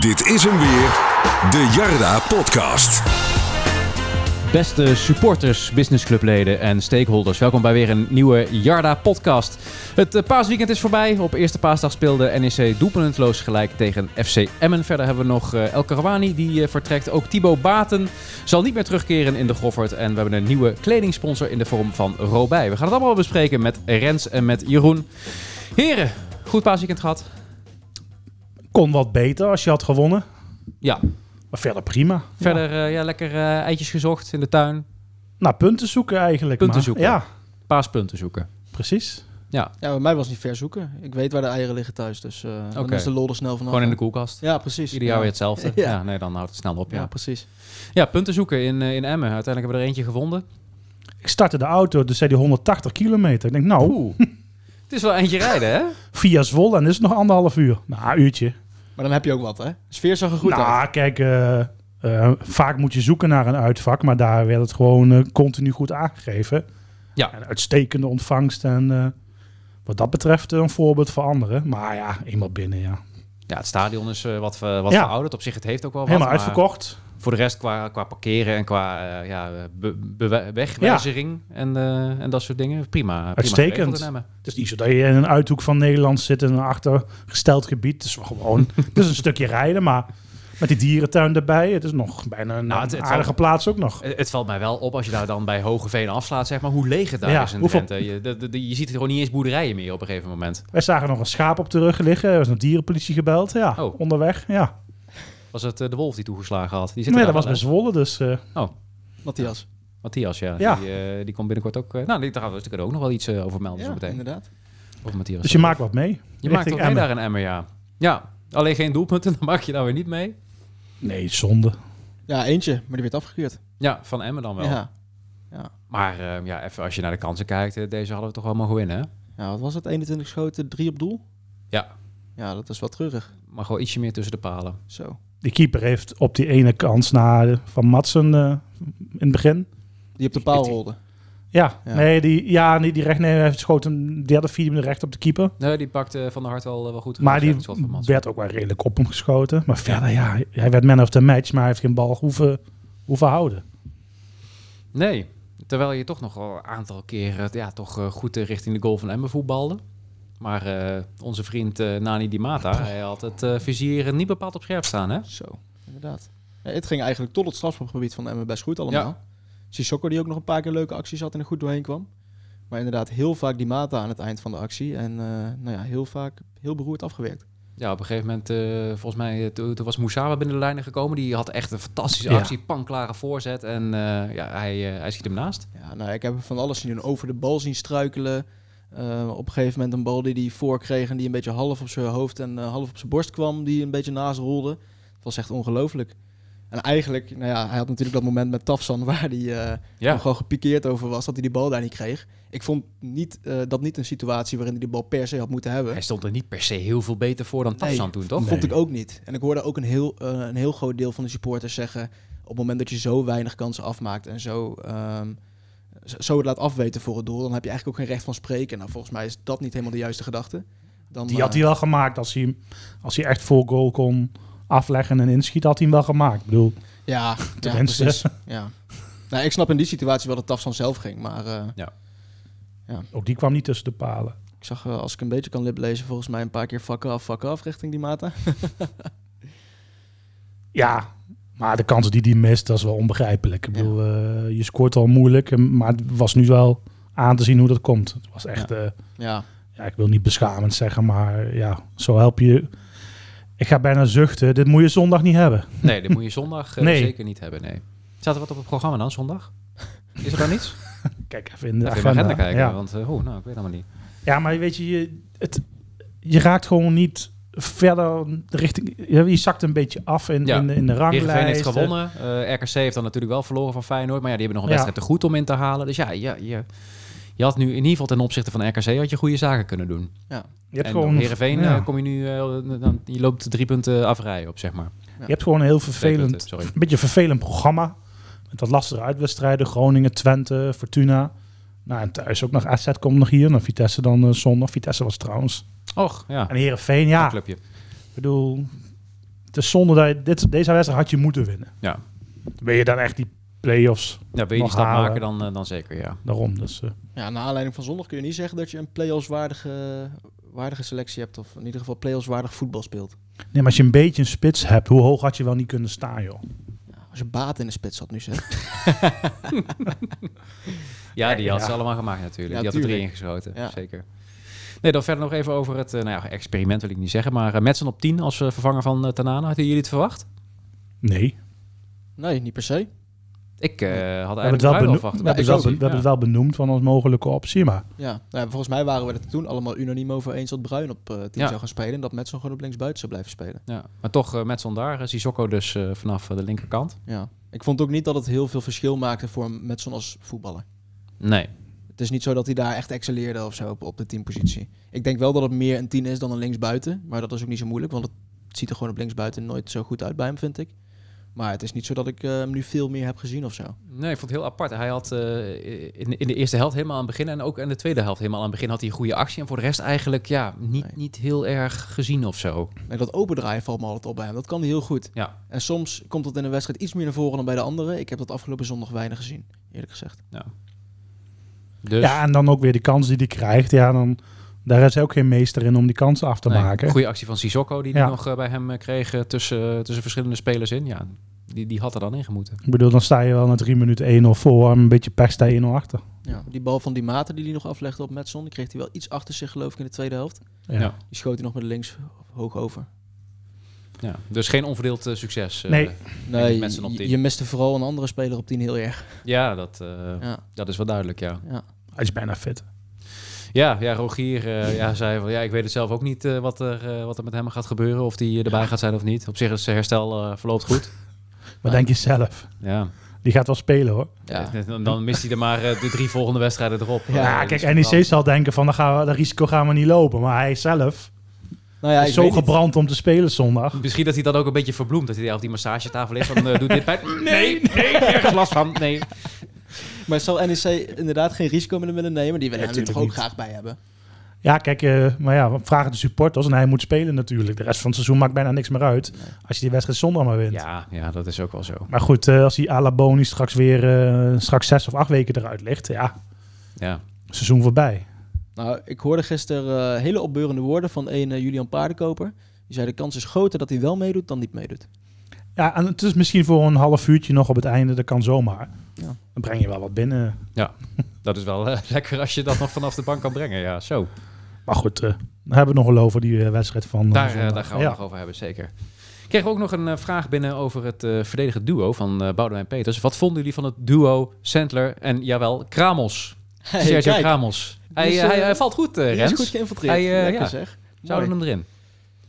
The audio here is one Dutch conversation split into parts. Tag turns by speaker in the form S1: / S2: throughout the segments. S1: Dit is hem weer, de Jarda Podcast.
S2: Beste supporters, businessclubleden en stakeholders, welkom bij weer een nieuwe Jarda podcast. Het eh, paasweekend is voorbij. Op eerste paasdag speelde NEC doelpuntloos gelijk tegen FC Emmen. Verder hebben we nog eh, El Karawani die eh, vertrekt. Ook Thibaut Baten zal niet meer terugkeren in de Goffert. En we hebben een nieuwe kledingsponsor in de vorm van Robij. We gaan het allemaal bespreken met Rens en met Jeroen. Heren, goed paasweekend gehad.
S3: Kon wat beter als je had gewonnen.
S2: Ja,
S3: Maar verder prima.
S2: verder eh, ja, lekker eh, eitjes gezocht in de tuin.
S3: Nou, punten zoeken eigenlijk.
S2: Punten
S3: maar.
S2: zoeken.
S3: Ja,
S2: Paaspunten zoeken.
S3: precies.
S4: Ja, bij mij was het niet ver zoeken. Ik weet waar de eieren liggen thuis, dus eh dan
S2: Oké.
S4: is de lol er snel vanaf.
S2: Gewoon in de koelkast.
S4: Ja, precies.
S2: Ieder jaar
S4: ja.
S2: weer hetzelfde. Ja.
S4: Ja.
S2: nee, dan houdt het snel op.
S4: Ja,
S2: Ja,
S4: precies.
S2: ja punten zoeken in, eh, in Emmen. Uiteindelijk hebben we er eentje gevonden.
S3: Ik startte de auto, dus zei die 180 kilometer. Ik denk, nou,
S2: Het is wel eentje rijden, hè?
S3: via Zwolle en is het nog anderhalf uur. Nou, uurtje.
S4: Maar dan heb je ook wat, hè? De sfeer zag er goed
S3: nou,
S4: uit.
S3: kijk, eh, eh, vaak moet je zoeken naar een uitvak, maar daar werd het gewoon eh, continu goed aangegeven.
S2: Ja.
S3: En uitstekende ontvangst en eh, wat dat betreft eh, een voorbeeld voor anderen. Maar ja, eenmaal binnen, ja.
S2: Ja, het stadion is eh, wat, ver- wat
S3: Ja.
S2: verouderd. Op zich, het heeft ook wel wat.
S3: Helemaal
S2: maar
S3: uitverkocht.
S2: Voor de rest, qua, qua parkeren en qua eh, ja, be- bewe- wegwijzering en, eh, en dat soort dingen. Prima. prima
S3: Uitstekend.
S2: geregeld in Emmen.
S3: Het is niet zo dat je in een uithoek van Nederland zit in een achtergesteld gebied. Het is wel gewoon het is een stukje rijden, maar met die dierentuin erbij. Het is nog bijna een
S2: Nou, het- het
S3: aardige
S2: valt-
S3: plaats ook nog.
S2: Eh, Het, het valt mij wel op als je daar dan bij Hogeveen afslaat, zeg maar, hoe leeg het daar
S3: Ja,
S2: is in
S3: hoeveel-
S2: Drenthe. Je, de, de- de- je ziet er gewoon niet eens boerderijen meer op een gegeven moment.
S3: Wij zagen nog een schaap op de rug liggen. Er was een dierenpolitie gebeld. Ja,
S2: Oh.
S3: onderweg. Ja.
S2: Was het eh, de wolf die toegeslagen had? Die zit er
S3: Nee, dat
S2: daar
S3: was
S2: wel,
S3: bij
S2: hè?
S3: Zwolle, dus eh,
S4: Matthias.
S2: Matthias, ja.
S3: Ja.
S2: Die, eh, die komt binnenkort ook... eh, nou, die, daar, daar kunnen we ook nog wel iets eh, over melden zo
S4: Ja,
S2: meteen.
S4: inderdaad.
S2: Over Matthias.
S3: dus je maakt wat mee.
S2: Je maakt
S3: richting
S2: toch mee
S3: Emmen.
S2: daar een emmer, ja. Ja, alleen geen doelpunten, dan maak je daar weer niet mee.
S3: Nee, zonde.
S4: Ja, eentje, maar die werd afgekeurd.
S2: Ja, van Emmen dan wel.
S4: Ja.
S2: Maar eh, ja, even als je naar de kansen kijkt, eh, deze hadden we toch wel mogen winnen, hè?
S4: ja, wat was het? 21 schoten, 3 op doel?
S2: Ja.
S4: Ja, dat is wel treurig.
S2: Maar gewoon ietsje meer tussen de palen.
S4: Zo.
S3: Die keeper heeft op die ene kans na de- van Matsen eh, in het begin.
S4: Die op de paal
S3: Die-
S4: rolde.
S3: Ja,
S4: Ja.
S3: nee, die, ja, nee, die recht, nee, hij schoot hem derde, vierde meter recht op de keeper.
S2: Nee, die pakte Van der Hart wel, eh, wel goed.
S3: Maar die
S2: Het schot van Mats.
S3: werd ook wel redelijk op hem geschoten. Maar verder, ja, hij werd man of the match, maar hij heeft geen bal hoeven, hoeven houden.
S2: Nee, terwijl je toch nog wel een aantal keren ja, toch, eh, goed eh, richting de goal van Emmen voetbalde. Maar eh, onze vriend eh, Nani Di Mata, hij had het eh, vizier eh, niet bepaald op scherp staan, hè?
S4: Zo, inderdaad. Ja, het ging eigenlijk tot het strafschopgebied van Emmen best goed allemaal. Sissoko die ook nog een paar keer leuke acties had en er goed doorheen kwam. Maar inderdaad, heel vaak die mata aan het eind van de actie. En eh, nou ja, heel vaak heel beroerd afgewerkt.
S2: Ja, op een gegeven moment, eh, volgens mij, eh, toen toen was Moussaba binnen de lijnen gekomen. Die had echt een fantastische
S3: Ja.
S2: actie, panklare voorzet. En eh, ja, hij, eh, hij schiet hem naast.
S4: Ja, nou, ik heb hem van alles zien doen. Over de bal zien struikelen. Eh, op een gegeven moment een bal die hij voor kreeg en die een beetje half op zijn hoofd en eh, half op zijn borst kwam. Die een beetje naast rolde. Het was echt ongelooflijk. En eigenlijk, nou ja, hij had natuurlijk dat moment met Tafsan waar hij eh,
S2: Ja,
S4: nog gewoon gepikeerd over was dat hij die bal daar niet kreeg. Ik vond niet, eh, dat niet een situatie waarin hij die bal per se had moeten hebben.
S2: hij stond er niet per se heel veel beter voor dan
S4: Nee.
S2: Tafsan toen, toch?
S4: Vond ik ook niet. En ik hoorde ook een heel, eh, een heel groot deel van de supporters zeggen... op het moment dat je zo weinig kansen afmaakt en zo, ehm, z- zo het laat afweten voor het doel... dan heb je eigenlijk ook geen recht van spreken. Nou, volgens mij is dat niet helemaal de juiste gedachte. Dan,
S3: Die
S4: eh,
S3: had hij wel gemaakt als hij, als hij echt voor goal kon afleggen en inschieten, had hij hem wel gemaakt. Ik bedoel,
S4: Ja, ja
S3: mensen.
S4: precies. Ja. Nou, ik snap in die situatie wel dat Tafsan zelf ging, maar... eh,
S3: ook die kwam niet tussen de palen.
S4: Ik zag, eh, als ik een beetje kan liplezen, volgens mij een paar keer vakken af, vakken af richting die mata.
S3: Ja, maar de kansen die hij mist, dat is wel onbegrijpelijk. Ik bedoel, eh, je scoort al moeilijk, en- maar het was nu wel aan te zien hoe dat komt. Het was echt... eh,
S4: Ja,
S3: ja, ik wil niet beschamend zeggen, maar ja, zo help je. Ik ga bijna zuchten. Dit moet je zondag niet hebben.
S2: Nee, dat moet je zondag eh,
S3: Nee.
S2: zeker niet hebben, nee. Staat er wat op het programma dan, zondag? Is er dan iets?
S3: Kijk even in de
S2: Even in mijn
S3: agenda.
S2: agenda kijken,
S3: ja.
S2: want eh, oh, nou, ik weet het allemaal niet.
S3: ja, maar weet je, je, het, je raakt gewoon niet verder richting. Je, je zakt een beetje af in,
S2: Ja.
S3: in, de- in de ranglijst.
S2: Heerenveen heeft gewonnen. Eh, RKC heeft dan natuurlijk wel verloren van Feyenoord. Maar ja, die hebben nog een
S3: Ja.
S2: wedstrijd te goed om in te halen. Dus ja, ja, je, je had nu in ieder geval ten opzichte van RKC had je goede zaken kunnen doen.
S3: Je hebt,
S2: en
S3: gewoon,
S2: op Heerenveen
S3: ja.
S2: eh, kom je nu, eh, dan, je loopt drie punten afrijen op, zeg maar.
S3: je hebt gewoon een heel
S2: Twee
S3: vervelend,
S2: punten, sorry.
S3: een beetje vervelend programma. Met wat lastige uitwedstrijden. Groningen, Twente, Fortuna. Nou, en thuis ook nog AZ komt nog hier. Dan Vitesse dan eh, zondag. Vitesse was trouwens.
S2: Och, ja.
S3: En Heerenveen, ja.
S2: Een clubje.
S3: Ik bedoel, Het is zonde dat je, dit, deze wedstrijd had je moeten winnen.
S2: Ja.
S3: Wil je dan echt die play-offs
S2: Ja, wil je die
S3: Nog
S2: stap
S3: halen.
S2: maken, dan, eh, dan zeker, ja.
S3: daarom? Dus, eh,
S4: Ja, naar aanleiding van zondag kun je niet zeggen dat je een play-offs waardige, waardige selectie hebt. Of in ieder geval play-offs waardig voetbal speelt.
S3: nee, maar als je een beetje een spits hebt, hoe hoog had je wel niet kunnen staan, joh?
S4: Als je baat in de spits had nu zeg.
S2: Ja, die had ze
S3: Ja.
S2: allemaal gemaakt natuurlijk.
S4: Ja,
S2: die had er drie
S4: tuurlijk.
S2: ingeschoten,
S4: Ja.
S2: zeker. Nee, dan verder nog even over het eh, nou ja, experiment, wil ik niet zeggen. Maar eh, Madsen op 10 als eh, vervanger van eh, Tanana. Hadden jullie het verwacht?
S3: Nee.
S4: Nee, niet per se.
S2: Ik eh, had
S3: We hebben het
S2: eigenlijk
S3: wel,
S2: Bruin
S3: beno-
S2: wel
S3: we
S2: verwacht.
S3: hebben het wel, be- we hebben het wel benoemd van als mogelijke optie, maar
S4: Ja. Nou ja, volgens mij waren we het er toen allemaal unaniem over eens dat Bruin op eh team
S2: Ja.
S4: zou gaan spelen. En dat Metson gewoon op linksbuiten zou blijven spelen.
S2: Ja, maar toch eh, Madsen daar. eh, Sissoko dus eh, vanaf eh, de linkerkant.
S4: Ja. Ik vond ook niet dat het heel veel verschil maakte voor Metson als voetballer.
S2: Nee.
S4: Het is niet zo dat hij daar echt excelleerde of zo op, op de teampositie. Ik denk wel dat het meer een 10 is dan een linksbuiten. Maar dat is ook niet zo moeilijk, want het ziet er gewoon op linksbuiten nooit zo goed uit bij hem, vind ik. Maar het is niet zo dat ik eh, hem nu veel meer heb gezien of zo.
S2: Nee, ik vond het heel apart. Hij had eh, in, in de eerste helft helemaal aan het begin en ook in de tweede helft helemaal aan het begin had hij een goede actie. En voor de rest eigenlijk ja, niet,
S4: Nee.
S2: niet heel erg gezien of zo.
S4: En dat opendraaien valt me altijd op bij hem. Dat kan hij heel goed.
S2: Ja.
S4: En soms komt dat in een wedstrijd iets meer naar voren dan bij de anderen. Ik heb dat afgelopen zondag weinig gezien, eerlijk gezegd.
S2: Dus
S3: ja, en dan ook weer de kans die hij krijgt, ja, dan daar is hij ook geen meester in om die kansen af te
S2: nee,
S3: maken.
S2: goede actie van Sissoko die hij
S3: Ja.
S2: nog eh, bij hem eh, kreeg eh, tussen, tussen verschillende spelers in. Ja, die, die had er dan in gemoeten.
S3: Ik bedoel, dan sta je wel na drie minuten 1-0 voor en een beetje pech sta je 1-0 achter.
S4: Ja. Die bal van die maten die hij nog aflegde op Metson, die kreeg hij wel iets achter zich geloof ik in de tweede helft.
S3: Ja.
S2: Ja.
S4: Die schoot hij nog met links hoog over.
S2: Ja, dus geen onverdeeld eh, succes. eh.
S3: Nee.
S2: denk
S4: Nee,
S2: dat Madsen op
S4: je,
S2: 10.
S4: je miste vooral een andere speler op 10 heel erg.
S2: Ja, dat, eh,
S4: Ja.
S2: dat is wel duidelijk, ja.
S4: Ja.
S3: Hij is bijna fit.
S2: Ja, ja Rogier eh, ja, zei van ja, ik weet het zelf ook niet eh, wat, er, eh, wat er met hem gaat gebeuren. Of die erbij gaat zijn of niet. Op zich is zijn herstel eh, verloopt goed.
S3: Wat denk je zelf?
S2: Ja.
S3: Die gaat wel spelen hoor.
S4: Ja.
S2: Eh, Dan, dan mist hij er maar eh, de drie volgende wedstrijden erop.
S4: Ja, E
S2: Eh,
S3: Ja,
S2: dus
S3: kijk, NEC zal denken van, dan gaan we, dat risico gaan we niet lopen. Maar hij zelf
S4: Nou ja,
S3: is
S4: ik
S3: zo
S4: weet niet.
S3: gebrand om te spelen zondag.
S2: Misschien dat hij dat ook een beetje verbloemt. Dat hij daar op die massagetafel is. Dan eh, doet dit pijn. Nee, nee, ergens last van. Nee.
S4: Maar zal NEC inderdaad geen risico met hem willen nemen? Die willen
S3: Ja,
S4: hem er toch ook
S3: tuurlijk
S4: graag bij hebben.
S3: Ja, kijk, eh, maar ja, vragen de supporters en hij moet spelen natuurlijk. De rest van het seizoen maakt bijna niks meer uit als je die wedstrijd zondag maar wint.
S2: Ja, ja, dat is ook wel zo.
S3: Maar goed, eh, als die Alaboni straks weer eh, straks zes of acht weken eruit ligt, ja,
S2: Ja.
S3: seizoen voorbij.
S4: Nou, ik hoorde gisteren eh, hele opbeurende woorden van een eh, Julian Paardenkoper. Die zei de kans is groter dat hij wel meedoet dan niet meedoet.
S3: Ja, en het is misschien voor een half uurtje nog op het einde, dat kan zomaar.
S4: Ja.
S3: Dan breng je wel wat binnen.
S2: Dat is wel eh, lekker als je dat nog vanaf de bank kan brengen. Ja, zo.
S3: Maar goed, eh dan hebben we het nog wel over die eh, wedstrijd van eh,
S2: Daar, eh,
S3: zondag.
S2: daar gaan we
S3: ja.
S2: nog over hebben, zeker. Ik kreeg ook nog een eh, vraag binnen over het eh verdedigend duo van eh Boudewijn Peters. Wat vonden jullie van het duo Sandler en, jawel, Kramos?
S4: Hey,
S2: Sergio
S4: kijk,
S2: Kramos. Hij,
S4: Dus,
S2: eh, hij,
S4: eh,
S2: hij valt goed, eh,
S4: die is
S2: Rens.
S4: goed geïnfiltreerd.
S2: Hij, eh,
S4: Lekker
S2: ja.
S4: zeg.
S2: Zouden
S4: Mooi.
S2: hem erin.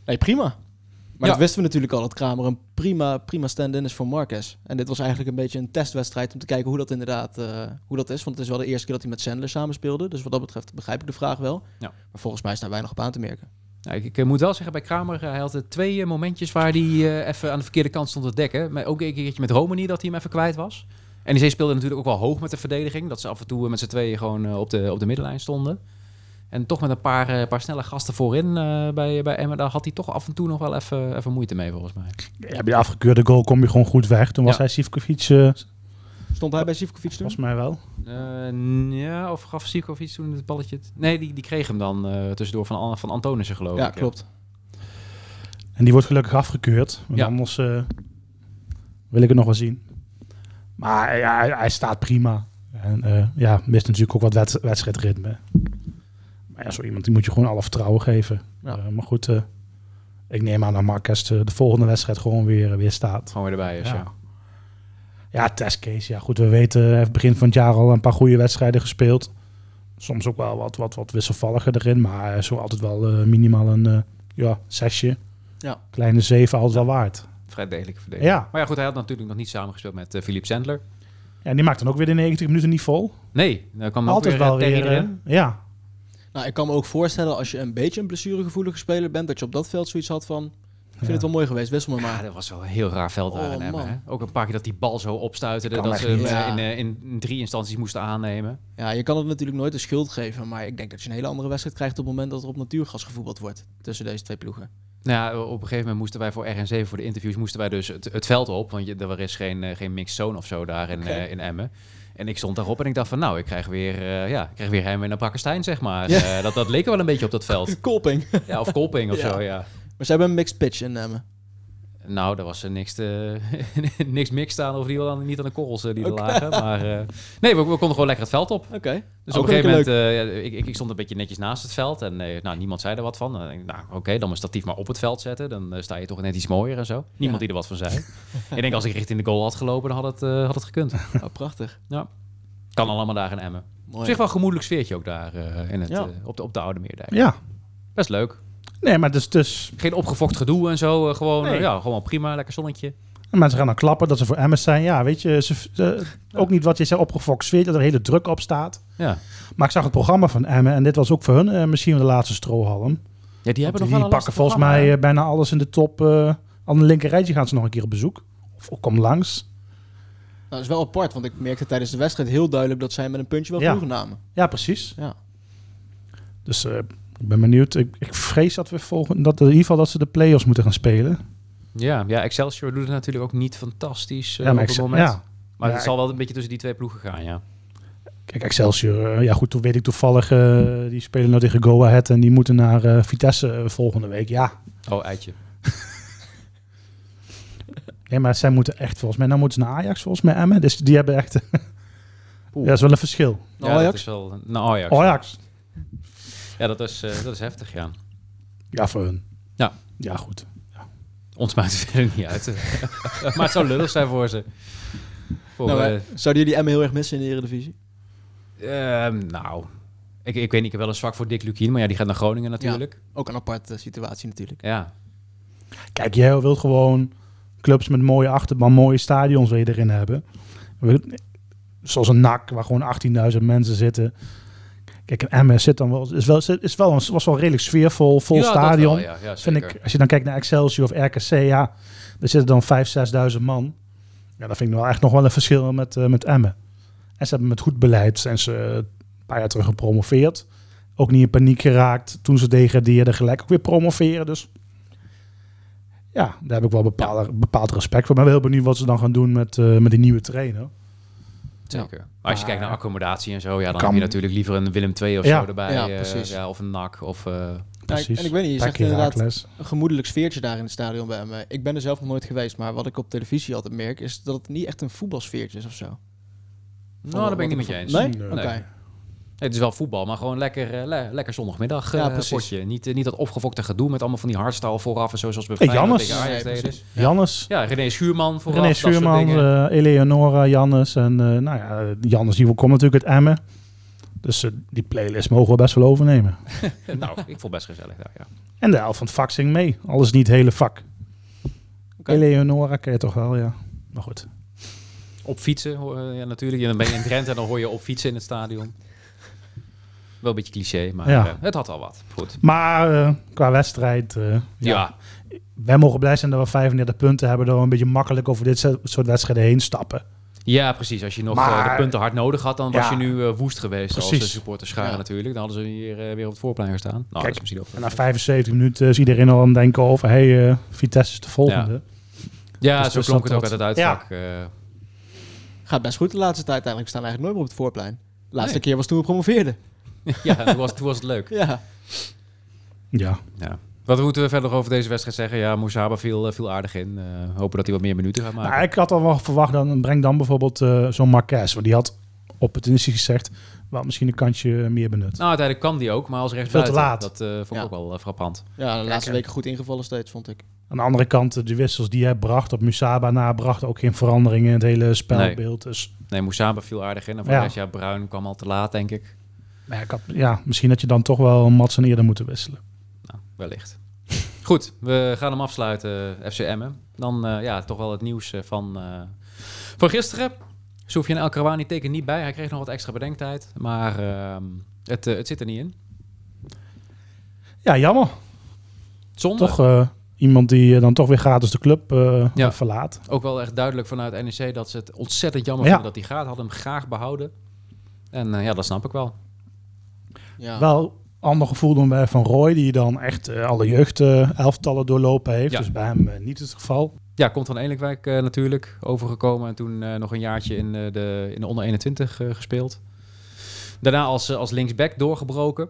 S4: Nee, prima. Maar
S2: Ja.
S4: dat wisten we natuurlijk al, dat Kramer een prima, prima stand-in is voor Marquez. En dit was eigenlijk een beetje een testwedstrijd om te kijken hoe dat inderdaad eh, hoe dat is. Want het is wel de eerste keer dat hij met Sandler samenspeelde. Dus wat dat betreft begrijp ik de vraag wel.
S2: Ja.
S4: Maar volgens mij is daar weinig op aan te merken.
S2: Nou, ik, ik, eh, moet wel zeggen, bij Kramer, eh, hij had eh, twee eh, momentjes waar hij eh, even aan de verkeerde kant stond te dekken. Maar ook een keertje met Romani dat hij hem even kwijt was. En die speelde natuurlijk ook wel hoog met de verdediging. Dat ze af en toe eh, met z'n tweeën gewoon eh, op, de, op de middenlijn stonden. En toch met een paar, eh, paar snelle gasten voorin eh, bij, bij Emmen. Daar had hij toch af en toe nog wel even, even moeite mee, volgens mij.
S3: Ja, bij de afgekeurde goal kom je gewoon goed weg. Toen was
S2: Ja.
S3: hij Sivkovic, eh,
S4: Stond hij bij Sivkovic toen?
S3: volgens mij wel.
S2: Eh, n- ja, of gaf Sikovic toen het balletje... t- Nee, die, die kreeg hem dan eh, tussendoor van, An- van Antonissen, geloof
S4: ja,
S2: ik.
S4: klopt.
S3: En die wordt gelukkig afgekeurd. Want
S2: Ja.
S3: anders eh, wil ik het nog wel zien. Maar eh, ja, hij, hij staat prima. En eh, ja, mist natuurlijk ook wat wed- wedstrijdritme. Maar ja, zo iemand die moet je gewoon alle vertrouwen geven.
S4: Ja.
S3: Eh, maar goed, eh, ik neem aan dat Marquez eh, de volgende wedstrijd gewoon weer, eh, weer staat.
S2: Gewoon weer erbij is,
S3: Ja.
S2: ja.
S3: Ja, testcase. Ja, goed, we weten, hij heeft begin van het jaar al een paar goede wedstrijden gespeeld. Soms ook wel wat, wat, wat wisselvalliger erin, maar eh, zo altijd wel eh, minimaal een eh, ja, zesje.
S4: Ja.
S3: Kleine zeven altijd wel waard.
S2: Vrij degelijke verdediging.
S3: Ja.
S2: Maar ja, goed, hij had natuurlijk nog niet samengespeeld met eh Philippe Sandler.
S3: ja, en die maakt dan ook weer de 90 minuten niet vol.
S2: Nee, daar kwam ook
S3: altijd
S2: weer, eh,
S3: wel
S2: Terry
S3: weer. eh,
S2: erin.
S3: ja,
S4: Nou, ik kan me ook voorstellen als je een beetje een blessuregevoelige speler bent, dat je op dat veld zoiets had van, ik vind
S3: Ja.
S4: het wel mooi geweest, wissel me
S2: Ja,
S4: maar.
S2: dat was wel een heel raar veld daar
S4: Oh,
S2: in Emmen.
S4: man.
S2: hè? Ook een paar keer dat die bal zo opstuitte
S3: Kan
S2: dat, ze
S3: echt
S2: hem
S4: niet.
S2: eh, in,
S4: Ja.
S2: eh, in, in drie instanties moesten aannemen.
S4: Ja, je kan het natuurlijk nooit de schuld geven, maar ik denk dat je een hele andere wedstrijd krijgt op het moment dat er op natuurgas gevoetbald wordt tussen deze twee ploegen.
S2: Nou, ja, op een gegeven moment moesten wij voor RN7 voor de interviews moesten wij dus het, het veld op, want je, er is geen, eh, geen mixed zone of zo daar in,
S4: Oké.
S2: eh, in Emmen. En ik stond daarop en ik dacht van, nou, ik krijg weer, eh ja, ik krijg weer Heimwee naar Brakkenstein, zeg maar.
S4: Ja.
S2: Eh, dat, dat leek er wel een beetje op dat veld.
S4: Kolping.
S2: Ja, of Kolping of
S4: Ja.
S2: zo, ja.
S4: Maar ze hebben een mixed pitch in eh, Emmen.
S2: Nou, daar was er niks, te, niks mixed aan, of die wel aan, niet aan de korrels eh, die
S4: Oké.
S2: er lagen. Maar eh, nee, we, we konden gewoon lekker het veld op.
S4: Oké.
S2: Dus
S4: Ook
S2: op een gegeven moment,
S4: leuk.
S2: eh, ja, ik, ik, ik stond een beetje netjes naast het veld en eh, nou, niemand zei er wat van. Dan denk ik, nou, oké, dan mijn statief maar op het veld zetten. Dan eh, sta je toch net iets mooier en zo. Niemand
S4: Ja.
S2: die er wat van zei. ik denk, als ik richting de goal had gelopen, dan had het, eh, had het gekund.
S4: Oh, prachtig.
S2: Kan allemaal daar in Emmen. Op
S4: Mooi.
S2: zich wel een gemoedelijk sfeertje ook daar eh, in het,
S4: Ja.
S2: eh, op, de, op de Oude Meerdijk.
S3: Ja.
S2: Best leuk.
S3: Nee, maar, dus, dus,
S2: Geen opgevocht gedoe en zo. eh, gewoon, eh,
S3: Nee.
S2: ja, gewoon prima, lekker zonnetje.
S3: mensen gaan dan klappen dat ze voor Emmen zijn. Ja, weet je, ze, ze- ook niet wat je zei opgefokt sfeer, dat er hele druk op staat.
S2: Ja,
S3: Maar ik zag het programma van Emmen en dit was ook voor hun eh, misschien de laatste strohalm.
S2: ja die hebben nog
S3: Want
S2: wel
S3: die
S2: een
S3: pakken
S2: lastig
S3: volgens
S2: programma,
S3: mij
S2: hè?
S3: eh, bijna alles in de top. eh aan een linker rijtje gaan ze nog een keer op bezoek. Of, of kom langs.
S4: Nou, dat is wel apart, want ik merkte tijdens de wedstrijd heel duidelijk dat zij met een puntje wel
S3: Ja.
S4: genoegen namen.
S3: Ja, precies.
S4: Ja.
S3: Dus eh, ik ben benieuwd. Ik, ik vrees dat we volgen, dat in ieder geval dat ze de play-offs moeten gaan spelen.
S2: eh, Ja, ja, Excelsior doet het natuurlijk ook niet fantastisch eh,
S3: ja, maar
S2: op het
S3: Ex-
S2: moment.
S3: ja.
S2: Maar
S3: Ja,
S2: het zal wel een beetje tussen die twee ploegen gaan, ja.
S3: Kijk, Excelsior, eh, ja goed, toen weet ik toevallig, eh, die spelen nou tegen Go Ahead en die moeten naar eh, Vitesse eh, volgende week. Ja,
S2: Oh, eitje.
S3: nee, maar zij moeten echt volgens mij, nou moeten ze naar Ajax volgens mij, Emmen. Dus die hebben echt, ja,
S2: Oeh.
S3: dat is wel een verschil. Oh,
S4: Nou,
S2: ja, dat
S4: Ajax?
S2: is wel een Ajax.
S3: Ajax,
S2: Ja, dat is, eh, dat is heftig, ja.
S3: ja voor hun.
S2: Ja.
S3: Ja, goed.
S2: Ons maakt het verder niet uit. maar het zou lullig zijn voor ze. Voor,
S4: Nou,
S2: nou,
S4: maar zouden jullie Emmen heel erg missen in de Eredivisie?
S2: nou ik, ik weet niet, ik heb wel een zwak voor Dick Lukien, maar ja, die gaat naar Groningen natuurlijk.
S4: Ook een aparte situatie natuurlijk.
S2: Ja.
S3: Kijk, jij wilt gewoon clubs met mooie achterban, mooie stadions wil je erin hebben. We- Zoals een NAC, waar gewoon 18.000 mensen zitten. Kijk, een Emmen zit dan wel, is wel, is wel een, was wel redelijk sfeervol, vol
S2: Ja, dat
S3: stadion.
S2: wel, ja, ja,
S3: Vind
S2: zeker.
S3: ik, als je dan kijkt naar Excelsior of RKC, ja, er zitten dan 5.000, 6.000 man. Ja, dat vind ik wel echt nog wel een verschil met, eh, met Emmen. En ze hebben met goed beleid, zijn ze een paar jaar terug gepromoveerd. Ook niet in paniek geraakt toen ze degradeerden, gelijk ook weer promoveren. Dus ja, daar heb ik wel bepaald, bepaald respect voor. Maar ik ben heel benieuwd wat ze dan gaan doen met, eh, met die nieuwe trainer.
S2: Zeker. Maar als je kijkt naar accommodatie en zo, ja, dan
S3: Kan.
S2: heb je natuurlijk liever een Willem II of
S3: Ja.
S2: zo erbij.
S4: Ja,
S2: eh,
S4: precies.
S2: ja, of een NAC. Of, eh,
S4: Precies.
S3: Precies.
S4: en ik weet niet, je zegt
S3: Pakken
S4: inderdaad
S3: Heracles.
S4: een gemoedelijk sfeertje daar in het stadion bij Emmen. Ik ben er zelf nog nooit geweest, maar wat ik op televisie altijd merk is dat het niet echt een voetbalsfeertje is of zo.
S2: nou, daar ben ik niet met je eens.
S4: Nee?
S3: Nee.
S4: Oké.
S2: Nee. Het is wel voetbal, maar gewoon lekker, eh, le- lekker zondagmiddag
S4: Ja,
S2: ja,
S4: precies.
S2: Niet, eh, niet dat opgefokte gedoe met allemaal van die hardstyle vooraf en zo, zoals bij
S3: Hey,
S2: Feyenoord
S3: Jannes.
S2: tegen Ajax
S4: Nee,
S2: deden.
S4: precies.
S3: Jannes.
S2: Ja, René Schuurman vooraf.
S3: René
S2: dat soort
S3: Schuurman,
S2: dingen.
S3: eh, Eleonora, Jannes. En eh, nou ja, Jannes die komt natuurlijk uit Emmen. Dus eh, die playlist mogen we best wel overnemen.
S2: nou, ik vond best gezellig daar, ja.
S3: En de helft van het vak zingt mee. Alles niet het hele vak.
S4: Oké.
S3: Eleonora ken je toch wel, ja. Maar goed.
S2: Op fietsen, hoor, eh, ja, natuurlijk. Ja, dan ben je in Drenthe en dan hoor je op fietsen in het stadion. Wel een beetje cliché, maar
S3: Ja.
S2: eh, het had al wat. Goed.
S3: Maar eh, qua wedstrijd... eh,
S2: Ja,
S3: Wij mogen blij zijn dat we 35 punten hebben. Dat we een beetje makkelijk over dit soort soort wedstrijden heen stappen.
S2: Ja, precies. Als je nog
S3: Maar-
S2: eh, de punten hard nodig had, dan was
S3: Ja.
S2: je nu eh, woest geweest als
S3: Precies.
S2: de supporters scharen
S4: Ja.
S2: natuurlijk. Dan hadden ze hier eh, weer op het voorplein gestaan. Nou, dat is misschien ook
S3: En
S2: wel-
S3: na 75 minuten is iedereen al aan het denken over... Hé, hey, eh, Vitesse is de volgende.
S2: Ja,
S3: dus-
S2: zo
S3: dus
S2: klonk
S3: dat-
S2: het ook
S3: dat-
S2: uit het uitvak. eh,
S4: Gaat best goed de laatste tijd eigenlijk. We staan eigenlijk nooit meer op het voorplein. De laatste
S2: Nee.
S4: keer was toen we promoveerden.
S2: ja, toen was, toen was het leuk.
S4: Ja.
S3: Ja.
S2: Ja. Wat moeten we verder nog over deze wedstrijd zeggen? Ja, Moesaba viel, eh, viel aardig in. Eh, hopen dat hij wat meer minuten gaat maken.
S3: Nou, ik had al wel verwacht, dan breng dan bijvoorbeeld eh, zo'n Marquez. Want die had opportunistisch gezegd, wel misschien een kantje eh, meer benut.
S2: Nou, uiteindelijk kan die ook, maar als rechts
S3: Veel te laat.
S2: Dat eh, vond ik
S4: Ja.
S2: ook wel eh, frappant.
S4: Ja, de laatste
S3: hè.
S4: weken goed ingevallen steeds, vond ik.
S3: Aan de andere kant, eh, de wissels die hij bracht op Musaba na, brachten ook geen veranderingen in het hele spelbeeld. Dus
S2: Nee, Moesaba viel aardig in. En van
S3: Ja.
S2: ja. ja, Bruin kwam al te laat, denk ik.
S3: nou ja, ik had, ja, misschien dat je dan toch wel Madsen eerder moeten wisselen.
S2: Nou, wellicht. Goed, we gaan hem afsluiten, FC Emmen. Dan eh, ja, toch wel het nieuws eh, van, eh, van gisteren. Soufiane El Karawani tekent niet bij. Hij kreeg nog wat extra bedenktijd. Maar ehm, het, eh, het zit er niet in.
S3: Ja, jammer.
S2: Zonde.
S3: Toch eh, iemand die eh, dan toch weer gratis de club eh,
S2: Ja.
S3: verlaat.
S2: Ook wel echt duidelijk vanuit NEC dat ze het ontzettend jammer
S3: Ja.
S2: vinden dat hij gaat. Hadden hem graag behouden. En eh, ja, dat snap ik wel.
S4: Ja.
S3: Wel ander gevoel dan bij Van Roy, die dan echt eh, alle jeugd eh, elftallen doorlopen heeft.
S2: Ja.
S3: Dus bij hem eh, niet het geval.
S2: Ja, komt van Elinkwijk eh, natuurlijk overgekomen. En toen eh, nog een jaartje in, eh, de, in de onder 21 eh, gespeeld. Daarna als, eh, als linksback doorgebroken.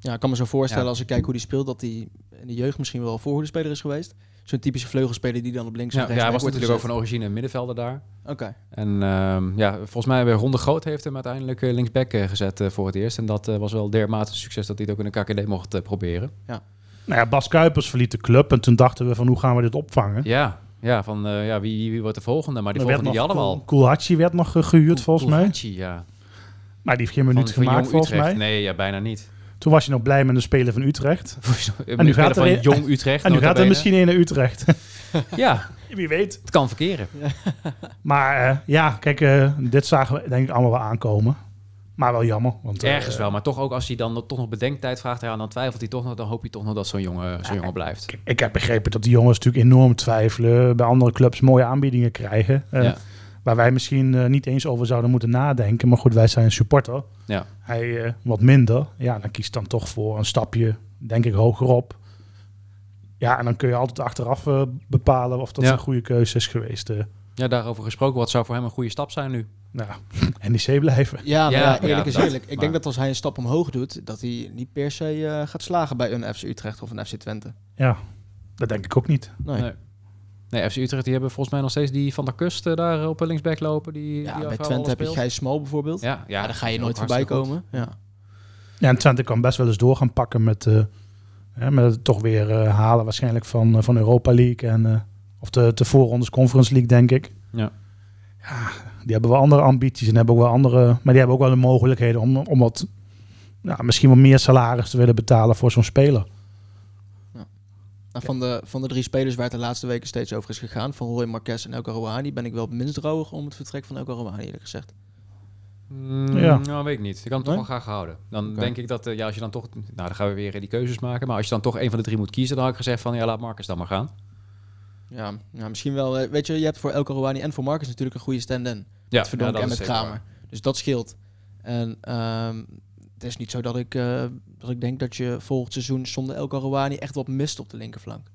S4: Ja, ik kan me zo voorstellen
S2: Ja.
S4: als ik kijk hoe die speelt, dat hij in de jeugd misschien wel voorhoederspeler is geweest. Zo'n typische vleugelspeler die dan op links
S2: Ja,
S4: en
S2: ja,
S4: rechts
S2: hij was
S4: wordt
S2: natuurlijk ook van origine een middenvelder daar.
S4: gezet. Oké,
S2: En ehm, ja, volgens mij weer Ronde Groot heeft hem uiteindelijk eh, linksback eh, gezet eh, voor het eerst. En dat eh, was wel dermate een succes dat hij het ook in de KKD mocht eh, proberen.
S3: Nou ja, Bas Kuipers verliet de club en toen dachten we van hoe gaan we dit opvangen?
S2: Ja, ja van eh, ja, wie, wie, wie wordt de volgende? Maar die
S3: Er werd
S2: volgende die
S3: nog
S2: hadden we
S3: Kool-
S2: al.
S3: Koolhatschi werd nog eh, gehuurd volgens mij.
S2: Koolhatschi, ja.
S3: Maar die heeft geen
S2: Van-
S3: minuut
S2: van Jong
S3: gemaakt volgens
S2: Utrecht.
S3: mij.
S2: Nee, ja, bijna niet.
S3: Toen was je nog blij met een speler van Utrecht.
S2: En nu gaat
S3: gaat er
S2: van
S3: weer-
S2: Jong Utrecht.
S3: En nu gaat er
S2: notabene.
S3: misschien een naar Utrecht.
S2: Ja,
S3: Wie weet.
S2: het kan verkeren.
S3: Maar eh, ja, kijk, eh, dit zagen we denk ik allemaal wel aankomen. Maar wel jammer. Want, eh,
S2: Ergens wel, maar toch ook als hij dan toch nog bedenktijd vraagt, ja, dan twijfelt hij toch nog, dan hoop je toch nog dat zo'n jongen, zo'n jongen blijft.
S3: Ik, ik heb begrepen dat die jongens natuurlijk enorm twijfelen. Bij andere clubs mooie aanbiedingen krijgen. eh,
S2: Ja.
S3: Waar wij misschien eh, niet eens over zouden moeten nadenken. Maar goed, wij zijn een supporter.
S2: Ja.
S3: Hij eh, wat minder. Ja, dan kiest dan toch voor een stapje, denk ik, hogerop. Ja, en dan kun je altijd achteraf eh, bepalen of dat
S2: Ja.
S3: een goede keuze is geweest. eh.
S2: Ja, daarover gesproken, wat zou voor hem een goede stap zijn nu?
S3: nou, NEC blijven.
S4: ja, maar
S2: Ja,
S4: ja,
S2: ja,
S4: eerlijk is
S2: dat.
S4: eerlijk. Ik
S2: Maar-
S4: denk dat als hij een stap omhoog doet, dat hij niet per se eh, gaat slagen bij een FC Utrecht of een FC Twente.
S3: Ja, dat denk ik ook niet.
S4: Nee.
S2: Nee. Nee, FC Utrecht, die hebben volgens mij nog steeds die Van der Kust eh, daar op een linksback lopen. Die,
S4: Ja,
S2: die
S4: bij
S2: overal
S4: Twente heb
S2: alles
S4: je
S2: speelt.
S4: Gijs Smal bijvoorbeeld. Ja,
S2: Ja, ja,
S4: daar ga je
S2: ook
S4: nooit voorbij
S2: hartstikke goed.
S4: komen. Ja.
S3: Ja, en Twente kan best wel eens door gaan pakken met, eh, hè, met het toch weer eh, halen waarschijnlijk van, eh, van Europa League. En, eh, of de, de voorrondes Conference League, denk ik.
S2: Ja.
S3: Ja, die hebben wel andere ambities en hebben ook wel andere... Maar die hebben ook wel de mogelijkheden om, om wat, ja, misschien wat meer salaris te willen betalen voor zo'n speler.
S4: Nou, van, de, van de drie spelers waar het de laatste weken steeds over is gegaan, van Roy Marquez en El Karouani, ben ik wel het minst rouwig om het vertrek van El Karouani eerlijk gezegd.
S2: Mm,
S3: Ja.
S2: Nou, weet ik niet. Ik kan hem toch wel
S4: Nee?
S2: graag houden. Dan
S4: Oké.
S2: denk ik dat, eh, ja, als je dan toch... Nou, dan gaan we weer eh, die keuzes maken. Maar als je dan toch een van de drie moet kiezen, dan had ik gezegd van... Ja, laat Marcus dan maar gaan.
S4: Ja, ja, misschien wel. eh, Weet je, je hebt voor El Karouani en voor Marcus natuurlijk een goede stand-in.
S2: Ja,
S4: met Verdonk
S2: ja, dat
S4: en
S2: is
S4: met
S2: zeker
S4: Kramer.
S2: waar.
S4: Dus dat scheelt. En ehm, het is niet zo dat ik, eh, dat ik denk dat je volgend seizoen zonder El Karouani echt wat mist op de linkerflank. En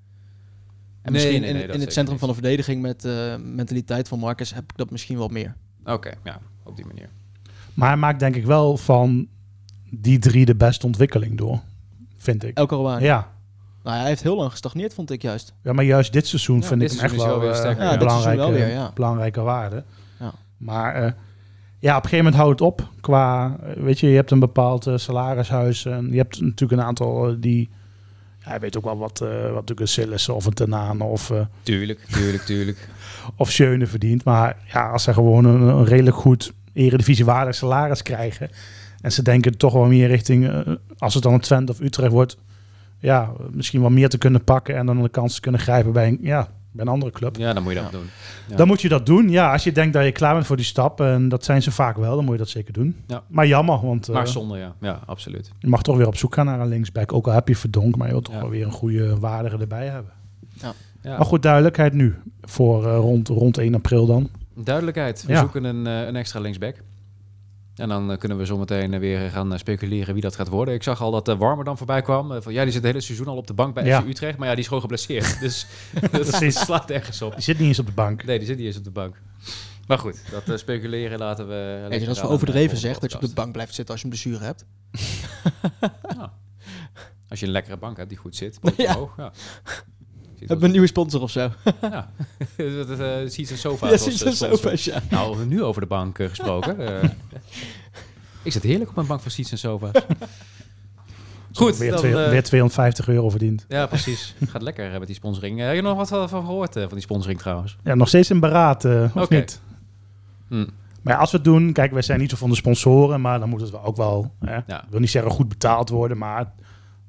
S2: Nee,
S4: misschien
S2: nee,
S4: in,
S2: nee, dat
S4: in
S2: zeker
S4: het centrum
S2: niet.
S4: van de verdediging met eh mentaliteit van Marcus heb ik dat misschien wat meer.
S2: Oké, ja, op die manier.
S3: Maar hij maakt denk ik wel van die drie de beste ontwikkeling door, vind ik.
S4: El Karouani.
S3: Ja.
S4: Nou, hij heeft heel lang gestagneerd, vond ik juist.
S3: Ja, maar juist dit seizoen
S2: Ja,
S3: vind
S2: dit
S3: ik hem echt
S2: seizoen is
S3: wel,
S2: wel weer
S3: eh,
S2: sterker,
S4: ja. Ja, dit seizoen
S3: belangrijke,
S4: wel weer, ja.
S3: belangrijke waarde.
S4: Ja.
S3: Maar eh, ja, op een gegeven moment houdt het op. Qua, eh, weet je, je hebt een bepaald eh, salarishuis. En je hebt natuurlijk een aantal eh, die... Ja, hij weet ook wel wat, eh, wat natuurlijk een Sillissen of een Tenaan of, eh
S2: Tuurlijk, tuurlijk, tuurlijk.
S3: of Schöne verdient. Maar ja, als ze gewoon een, een redelijk goed eredivisiewaardig salaris krijgen... en ze denken toch wel meer richting... eh, als het dan een Twente of Utrecht wordt... ja, misschien wel meer te kunnen pakken... en dan een kans te kunnen grijpen bij een, ja, bij een andere club.
S2: Ja, dan moet je dat
S4: Ja.
S2: doen. Ja.
S3: Dan moet je dat doen. Ja, als je denkt dat je klaar bent voor die stap, en dat zijn ze vaak wel, dan moet je dat zeker doen.
S2: Ja.
S3: Maar jammer, want eh,
S2: Maar zonder, ja. Ja, absoluut.
S3: je mag toch weer op zoek gaan naar een linksback. Ook al heb je verdonk, maar je wilt toch
S2: Ja.
S3: wel weer een goede waardige erbij hebben.
S2: Ja.
S3: Maar goed, duidelijkheid nu voor eh, rond, rond 1 april dan.
S2: Duidelijkheid. We
S3: Ja.
S2: zoeken een, eh, een extra linksback. En dan eh, kunnen we zometeen eh, weer gaan eh, speculeren wie dat gaat worden. Ik zag al dat eh, Warmer dan voorbij kwam. Eh, van, ja, die zit het hele seizoen al op de bank bij
S3: Ja.
S2: FC Utrecht. Maar ja, die is gewoon geblesseerd. Dus dat
S3: Precies.
S2: slaat ergens op.
S3: Die zit niet eens op de bank.
S2: Nee, die zit niet eens op de bank. Maar goed, dat eh, speculeren laten we... eh,
S4: Weet je, dat is wel overdreven zeg, dat je op de bank blijft zitten als je een blessure hebt.
S2: Als je een lekkere bank hebt die goed zit. pootje
S4: Ja.
S2: omhoog, ja. Ziet
S4: Hebben we een nieuwe sponsor of zo?
S2: als- ja. Dat, dat, eh, ziet een sofa.
S4: Ja,
S2: als,
S4: zie je
S2: eh,
S4: zo
S2: sponsor.
S4: vast, ja.
S2: Nou, nu over de bank eh, gesproken. Eh, ik zit heerlijk op mijn bank van seats en sofa's. Goed,
S3: weer,
S2: dan,
S3: twee-
S2: eh,
S3: weer 250 euro verdiend.
S2: ja, precies. Gaat lekker eh, met die sponsoring. Eh, heb je nog wat van van gehoord eh, van die sponsoring trouwens?
S3: Ja, nog steeds in beraad, eh, of
S2: Oké.
S3: niet?
S2: Hm.
S3: Maar ja, als we het doen, kijk, wij zijn niet zo van de sponsoren, maar dan moet het wel ook wel, hè,
S2: Ja.
S3: ik wil niet zeggen goed betaald worden, maar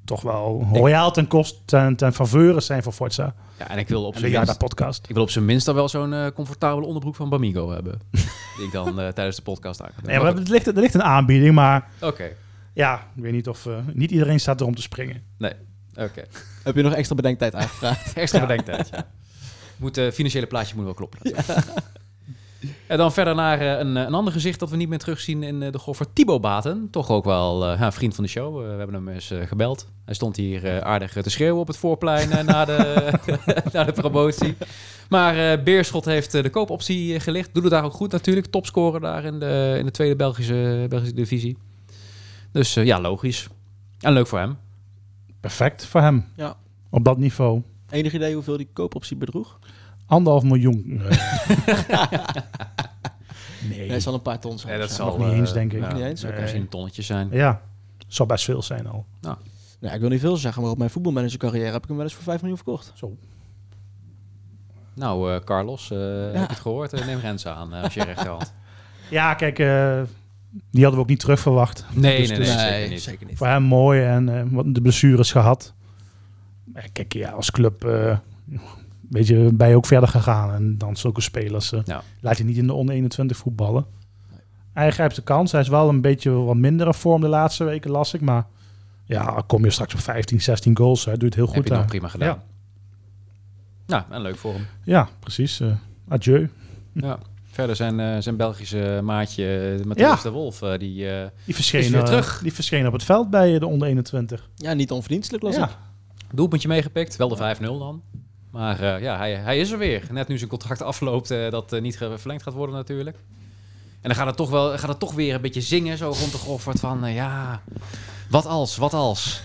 S3: toch wel royaal ten kost, ten, ten faveur zijn voor Forza.
S2: Ja, en ik wil op
S3: En de
S2: zijn
S3: Jarda
S2: minst,
S3: podcast.
S2: ik wil op zijn minst dan wel zo'n eh, comfortabele onderbroek van Bamigo hebben. die ik dan eh, tijdens de podcast aan kan doen.
S3: Nee, maar
S2: Maar
S3: het ligt, er ligt een aanbieding, maar
S2: goed, Oké,
S3: ja, ik weet niet of... eh, niet iedereen staat er om te springen.
S2: oké.
S4: Heb je nog extra bedenktijd aangevraagd?
S2: Extra bedenktijd, ja. Moet, eh financiële plaatje moet wel kloppen. natuurlijk. En En dan verder naar eh, een, eh, een ander gezicht dat we niet meer terugzien in eh, de goffer. Thibaut Baten, toch ook wel eh, ja, een vriend van de show. Eh, we hebben hem eens eh, gebeld. Hij stond hier eh, aardig eh, te schreeuwen op het voorplein eh, na, de, na de promotie. Maar eh, Beerschot heeft eh, de koopoptie eh, gelicht. Doet het daar ook goed natuurlijk. Topscorer daar in de, in de tweede Belgische, Belgische divisie. Dus eh, ja, logisch. En leuk voor hem.
S3: Perfect voor hem.
S4: Ja.
S3: Op dat niveau.
S4: Enig idee hoeveel die koopoptie bedroeg?
S3: Anderhalf miljoen. eh. nee.
S4: Nee, het zal een paar ton zijn.
S2: Ja, dat
S4: Ja.
S2: zal
S3: nog niet
S2: eh,
S3: eens, denk ik.
S2: ja,
S4: Nog niet eens?
S2: dat kan
S3: Nee.
S2: Misschien een tonnetje zijn.
S3: Ja, zou best veel zijn al.
S4: Nou, ik wil niet veel zeggen, maar op mijn voetbalmanagercarrière heb ik hem wel eens voor 5 miljoen verkocht.
S3: Zo.
S2: Nou, eh, Carlos, eh, heb je het gehoord? Eh, neem Rens aan eh, als je rechterhand.
S3: Ja, kijk, eh, die hadden we ook niet terugverwacht.
S2: Nee,
S3: Dus-
S2: nee,
S3: dus-
S2: nee, zeker niet.
S3: Voor hem mooi en eh, wat de blessures gehad. Eh, Kijk, ja, als club eh, weet je, ben je ook verder gegaan. En dan zulke spelers eh,
S2: Ja.
S3: laat je niet in de onder 21 voetballen. Hij grijpt de kans. Hij is wel een beetje wat mindere vorm de laatste weken, las ik. Maar ja, kom je straks op 15, 16 goals. Hij doet het heel goed
S2: heb je nog
S3: daar.
S2: prima gedaan. Ja, en leuk voor hem.
S3: Ja, precies. eh, adieu.
S2: Ja. Verder zijn, eh, zijn Belgische maatje eh, Matthijs
S3: Ja.
S2: de Wolf, eh, die... eh,
S3: Die
S2: Is
S3: verscheen,
S2: weer
S3: eh,
S2: terug.
S3: die verscheen op het veld bij eh, de onder 21.
S4: Ja, niet onverdienstelijk was
S3: ja.
S4: ik.
S2: doelpuntje meegepikt. Wel de 5-0 dan. Maar eh, ja, hij, hij is er weer. Net nu zijn contract afloopt, eh, dat eh, niet ge- verlengd gaat worden natuurlijk. En dan gaat het toch, wel, gaat het toch weer een beetje zingen, zo rond de Goffert van... eh, ja, wat als, wat als.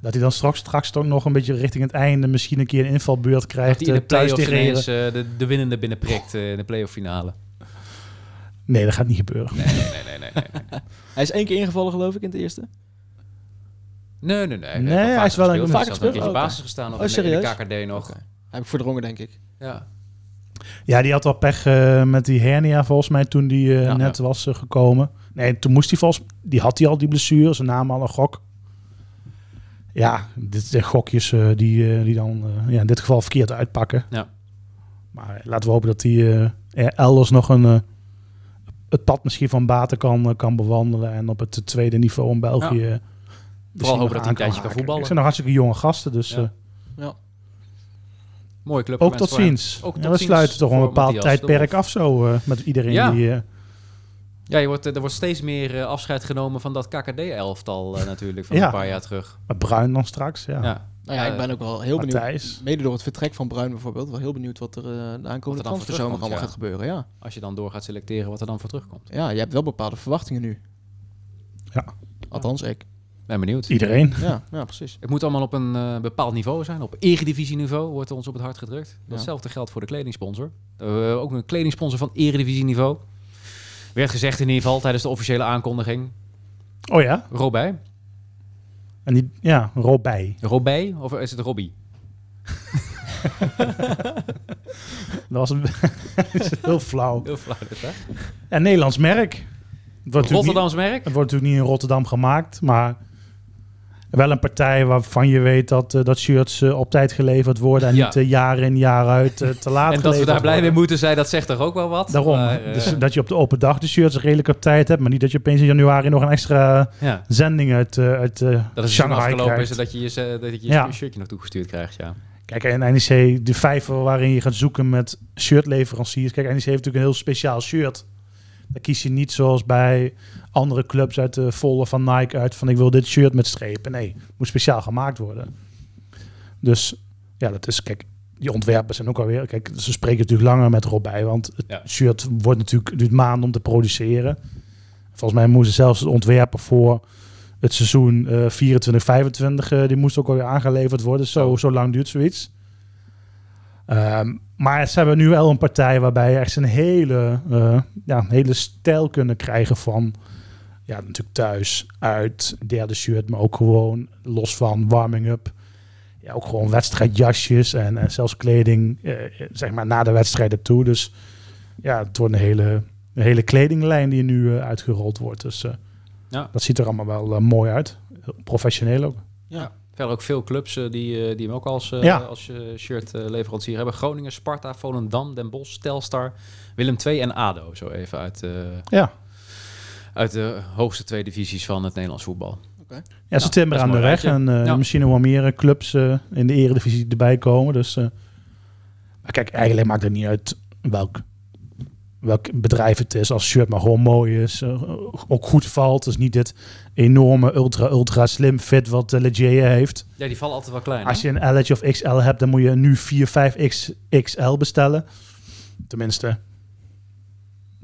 S3: Dat hij dan straks, straks toch nog een beetje richting het einde misschien een keer een invalbeurt
S2: Dat
S3: krijgt.
S2: hij in de
S3: eh, thuis
S2: play-offs
S3: tegen
S2: ineens
S3: Heren.
S2: eh, de, de winnende binnenprikt eh, in de play-off finale.
S3: Nee, dat gaat niet gebeuren.
S2: Nee, nee, nee. nee.
S4: Hij is één keer ingevallen, geloof ik, in het eerste.
S2: Nee, nee, nee. Hij
S3: Nee,
S2: heeft al
S3: hij is
S2: vaker
S3: wel een-
S2: gespeeld. Hij is al
S4: vaker
S2: een
S4: gespeeld?
S2: keertje
S4: Oh,
S2: basis gestaan of
S4: Oh,
S2: in de- in de
S4: serieus?
S2: KKD nog.
S4: Oké. Heb ik verdrongen, denk ik.
S2: Ja.
S3: Ja, die had wel pech eh, met die hernia volgens mij toen die eh,
S4: Ja,
S3: net was eh, gekomen. Nee, toen moest hij volgens Die had hij al die blessure. Ze namen al een gok. Ja, dit zijn gokjes eh, die, eh, die dan eh, ja, in dit geval verkeerd uitpakken.
S2: Ja.
S3: Maar laten we hopen dat hij eh, er elders nog een... eh, het pad misschien van Baten kan, eh, kan bewandelen. En op het eh, tweede niveau in België... eh,
S2: hopen
S3: misschien nog
S2: dat hij een
S3: aan
S2: tijdje kan
S3: haken.
S2: voetballen.
S3: Het zijn nog hartstikke jonge gasten, dus
S2: Ja.
S3: eh,
S2: Mooie club.
S3: ook tot ziens.
S2: Ook tot
S3: ja, we
S2: ziens
S3: sluiten toch een
S2: voor
S3: bepaald
S2: Matthias de
S3: tijdperk
S2: Wolf.
S3: af zo eh, met iedereen
S2: Ja.
S3: die... eh,
S2: Ja, je wordt, eh, er wordt steeds meer eh, afscheid genomen van dat KKD-elftal eh, natuurlijk van
S3: Ja.
S2: een paar jaar terug.
S3: Maar Bruin dan straks, ja.
S2: Ja.
S3: ja.
S4: Nou ja,
S2: Ja,
S4: ik ben ook wel heel benieuwd.
S3: Matthijs.
S4: Mede door het vertrek van Bruin bijvoorbeeld. Wel heel benieuwd wat er eh de
S2: voor
S4: aankomende transferzomer
S2: terugkomt,
S4: allemaal
S2: ja.
S4: gaat gebeuren. Ja.
S2: Als je dan door gaat selecteren wat er dan voor terugkomt.
S4: ja, je hebt wel bepaalde verwachtingen nu.
S3: Ja.
S4: Althans, ik.
S2: Ben benieuwd.
S3: Iedereen.
S4: Ja, ja precies.
S2: Het moet allemaal op een eh, bepaald niveau zijn. Op eredivisieniveau wordt ons op het hart gedrukt.
S4: Ja.
S2: Datzelfde geldt voor de kledingsponsor. We hebben ook een kledingsponsor van eredivisieniveau. Werd gezegd in ieder geval tijdens de officiële aankondiging.
S3: Oh ja.
S2: Robij.
S3: En die, ja, Robij.
S2: Robij? Of is het Robbie?
S3: Dat was een, dat is heel flauw.
S2: Heel flauw dit, hè?
S3: En Nederlands merk. Het wordt natuurlijk niet-
S2: Rotterdams merk.
S3: Het wordt natuurlijk niet in Rotterdam gemaakt, maar wel een partij waarvan je weet dat, eh, dat shirts eh, op tijd geleverd worden en
S2: Ja.
S3: niet eh, jaar in jaar uit eh, te laat
S2: En dat we daar blij mee
S3: moeten.
S2: moeten zijn, dat zegt toch ook wel wat?
S3: Daarom,
S2: Maar, eh,
S3: dus dat je op de open dag de shirts redelijk op tijd hebt, maar niet dat je opeens in januari nog een extra
S2: ja.
S3: zending uit, eh, uit eh,
S2: Dat is dus
S3: Shanghai
S2: afgelopen
S3: krijgt.
S2: is dat je je, eh, dat je, je
S3: Ja.
S2: shirtje nog toegestuurd krijgt, ja.
S3: Kijk, en NEC, de vijver waarin je gaat zoeken met shirtleveranciers. Kijk, NEC heeft natuurlijk een heel speciaal shirt. Daar kies je niet zoals bij andere clubs uit de folder van Nike uit van ik wil dit shirt met strepen. Nee, het moet speciaal gemaakt worden. Dus ja, dat is, kijk, die ontwerpers zijn ook alweer, kijk, ze spreken natuurlijk langer met Rob bij, want het
S2: Ja.
S3: shirt wordt natuurlijk, duurt maanden om te produceren. Volgens mij moesten zelfs de ontwerpen voor het seizoen eh 24, 25, eh, die moest ook alweer aangeleverd worden. Zo,
S2: Oh.
S3: zo lang duurt zoiets. Ehm, maar ze hebben nu wel een partij waarbij je echt een hele, eh, ja, een hele stijl kunnen krijgen van... Ja, natuurlijk thuis, uit, derde shirt, maar ook gewoon los van warming-up. Ja, ook gewoon wedstrijdjasjes en, en zelfs kleding, eh, zeg maar, na de wedstrijden toe. Dus ja, het wordt een hele, een hele kledinglijn die nu eh, uitgerold wordt. Dus eh,
S2: Ja.
S3: dat ziet er allemaal wel eh, mooi uit. Heel Professioneel ook.
S2: Verder ook veel clubs eh, die, eh, die hem ook als, eh
S3: Ja.
S2: als eh, shirtleverancier hebben. Groningen, Sparta, Volendam, Den Bosch, Telstar, Willem II en ADO. Zo even uit, eh,
S3: Ja,
S2: uit de hoogste twee divisies van het Nederlands voetbal.
S3: ja ze
S2: Ja,
S3: timmeren
S2: best
S3: aan de
S2: mooi
S3: weg. En
S2: rijtje.
S3: eh,
S2: Ja.
S3: misschien nog wel meer eh, clubs eh, in de eredivisie die erbij komen. Dus eh, maar kijk, eigenlijk maakt het niet uit welk welk bedrijf het is. Als het shirt maar gewoon mooi is, eh, ook goed valt. Dus niet dit enorme ultra ultra slim fit wat uh, heeft.
S2: Ja, die vallen altijd wel klein.
S3: Als je een LH of XL hebt, dan moet je nu 4, 5 XL bestellen. Tenminste.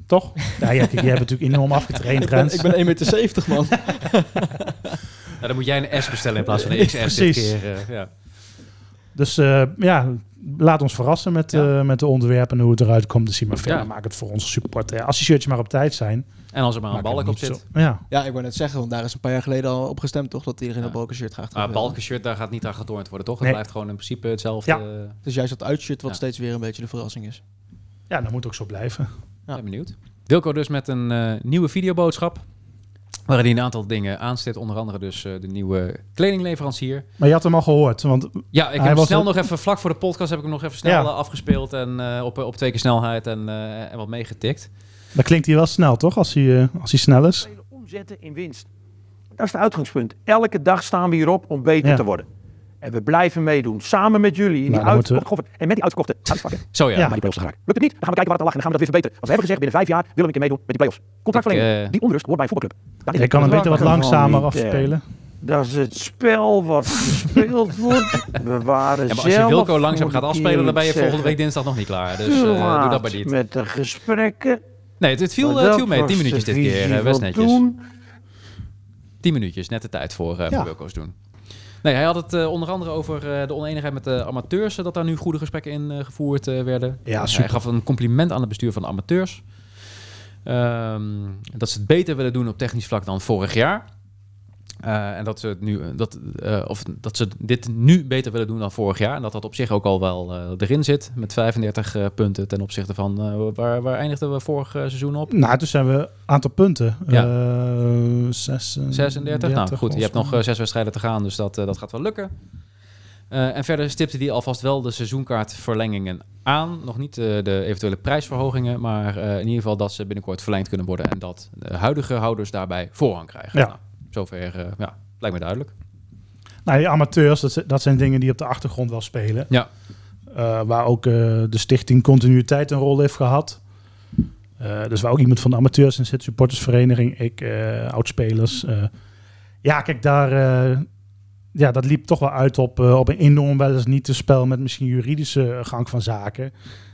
S3: Toch? Ja, ja, kijk, jij hebt natuurlijk enorm afgetraind,
S4: Ik ben,
S3: Rens.
S4: ik ben 1,70 meter, man.
S2: Nou, dan moet jij een S bestellen in plaats van een XS dit
S3: Precies.
S2: keer. eh, ja.
S3: Dus eh, ja, laat ons verrassen met,
S2: Ja.
S3: eh, met de onderwerpen en hoe het eruit komt. Dus zien maar verder.
S2: Ja.
S3: Maak het voor onze supporter. Als die shirtjes maar op tijd zijn.
S2: En als er maar een
S3: maak het
S2: balk op
S3: niet
S2: zit.
S3: zo- Ja,
S4: Ja, ik wou net zeggen, want daar is een paar jaar geleden al op gestemd, toch? Dat iedereen
S2: Ja.
S4: een balkenshirt graag terug
S2: Maar
S4: wil.
S2: balkenshirt, daar gaat niet aan getornd worden, toch? Het
S3: Nee.
S2: blijft gewoon in principe hetzelfde. eh,
S3: Ja.
S2: Ja.
S4: Dus juist dat uitshirt wat
S2: Ja.
S4: steeds weer een beetje de verrassing is.
S3: ja, dat moet ook zo blijven.
S4: Ja.
S2: Ben benieuwd. Wilco dus met een eh, nieuwe videoboodschap. Waarin hij een aantal dingen aanstipt. Onder andere dus eh, de nieuwe kledingleverancier.
S3: Maar je had hem al gehoord. Want
S2: Ja, ik heb
S3: Hij
S2: hem
S3: was
S2: snel
S3: er-
S2: nog even, vlak voor de podcast heb ik hem nog even snel
S3: Ja.
S2: eh, afgespeeld. En eh, op, op twee keer snelheid en, eh, en wat meegetikt.
S3: dat klinkt hier wel snel, toch? Als hij, eh, als hij snel is.
S5: Spelen omzetten in winst. Dat is het uitgangspunt. Elke dag staan we hierop om beter
S3: Ja.
S5: te worden. En we blijven meedoen. Samen met jullie. In
S3: Nou,
S5: die
S3: dan moeten we-
S5: uitverkochte koffer. En met die uitverkochte uitvakken.
S2: Zo ja.
S3: Ja.
S5: Maar die play-offs gaan raken. Lukt het niet? Dan gaan we kijken waar het aan lag. En dan gaan we dat weer verbeteren. Want we hebben gezegd, binnen vijf jaar willen we een keer meedoen met die play-offs. Contractverlenging.
S2: Ik, eh,
S5: Die onrust hoort bij een voetbalclub. Daar is
S3: Je kan hem
S5: het.
S3: beter wat
S5: Gewoon
S3: langzamer
S5: niet, eh,
S3: afspelen.
S5: Dat is het spel wat gespeeld wordt. We waren
S2: Ja, maar als je
S5: zelf
S2: Wilco langzaam
S5: voor
S2: gaat
S5: de
S2: afspelen, dan ben je
S5: keer
S2: volgende week
S5: zeggen,
S2: dinsdag nog niet klaar. Dus
S5: te
S2: eh, doe dat
S5: laat
S2: maar niet.
S5: Met de gesprekken.
S2: Nee, het, het viel,
S5: Maar
S2: eh, het
S5: dat
S2: viel mee.
S5: was
S2: 10
S5: de
S2: minuutjes dit keer.
S5: visie
S2: eh, best
S5: van
S2: netjes.
S5: toen.
S2: 10 minuutjes, net de tijd voor, eh, voor
S3: Ja.
S2: Wilco's doen. Nee, hij had het eh, onder andere over eh, de oneenigheid met de amateurs, eh, dat daar nu goede gesprekken in eh, gevoerd eh, werden.
S3: Ja,
S2: Hij
S3: super.
S2: gaf een compliment aan het bestuur van de amateurs. Ehm, dat ze het beter willen doen op technisch vlak dan vorig jaar. Eh, en dat ze, het nu, eh, dat, eh, of dat ze dit nu beter willen doen dan vorig jaar. En dat dat op zich ook al wel eh, erin zit. Met 35 eh, punten ten opzichte van eh, waar, waar eindigden we vorig eh, seizoen op?
S3: Nou, toen zijn we aantal punten.
S2: Ja.
S3: Eh, 36.
S2: 36. Nou goed, je hebt nog eh,
S3: volgens
S2: zes wedstrijden te gaan, dus dat, eh, dat gaat wel lukken. Eh, en verder stipte hij alvast wel de seizoenkaartverlengingen aan. Nog niet eh, de eventuele prijsverhogingen, maar eh, in ieder geval dat ze binnenkort verlengd kunnen worden en dat de huidige houders daarbij voorrang krijgen.
S3: Ja.
S2: Nou, zover, eh, ja, lijkt me duidelijk.
S3: mij. Nou, die amateurs, dat, zi- dat zijn dingen die op de achtergrond wel spelen.
S2: Ja.
S3: Eh, waar ook eh, de stichting Continuïteit een rol heeft gehad. Eh, dus waar ook iemand van de amateurs in zit, supportersvereniging, ik, eh oudspelers. eh. ja, kijk, daar, eh, ja, dat liep toch wel uit op, eh, op een enorm wel eens niet te spel met misschien juridische gang van zaken.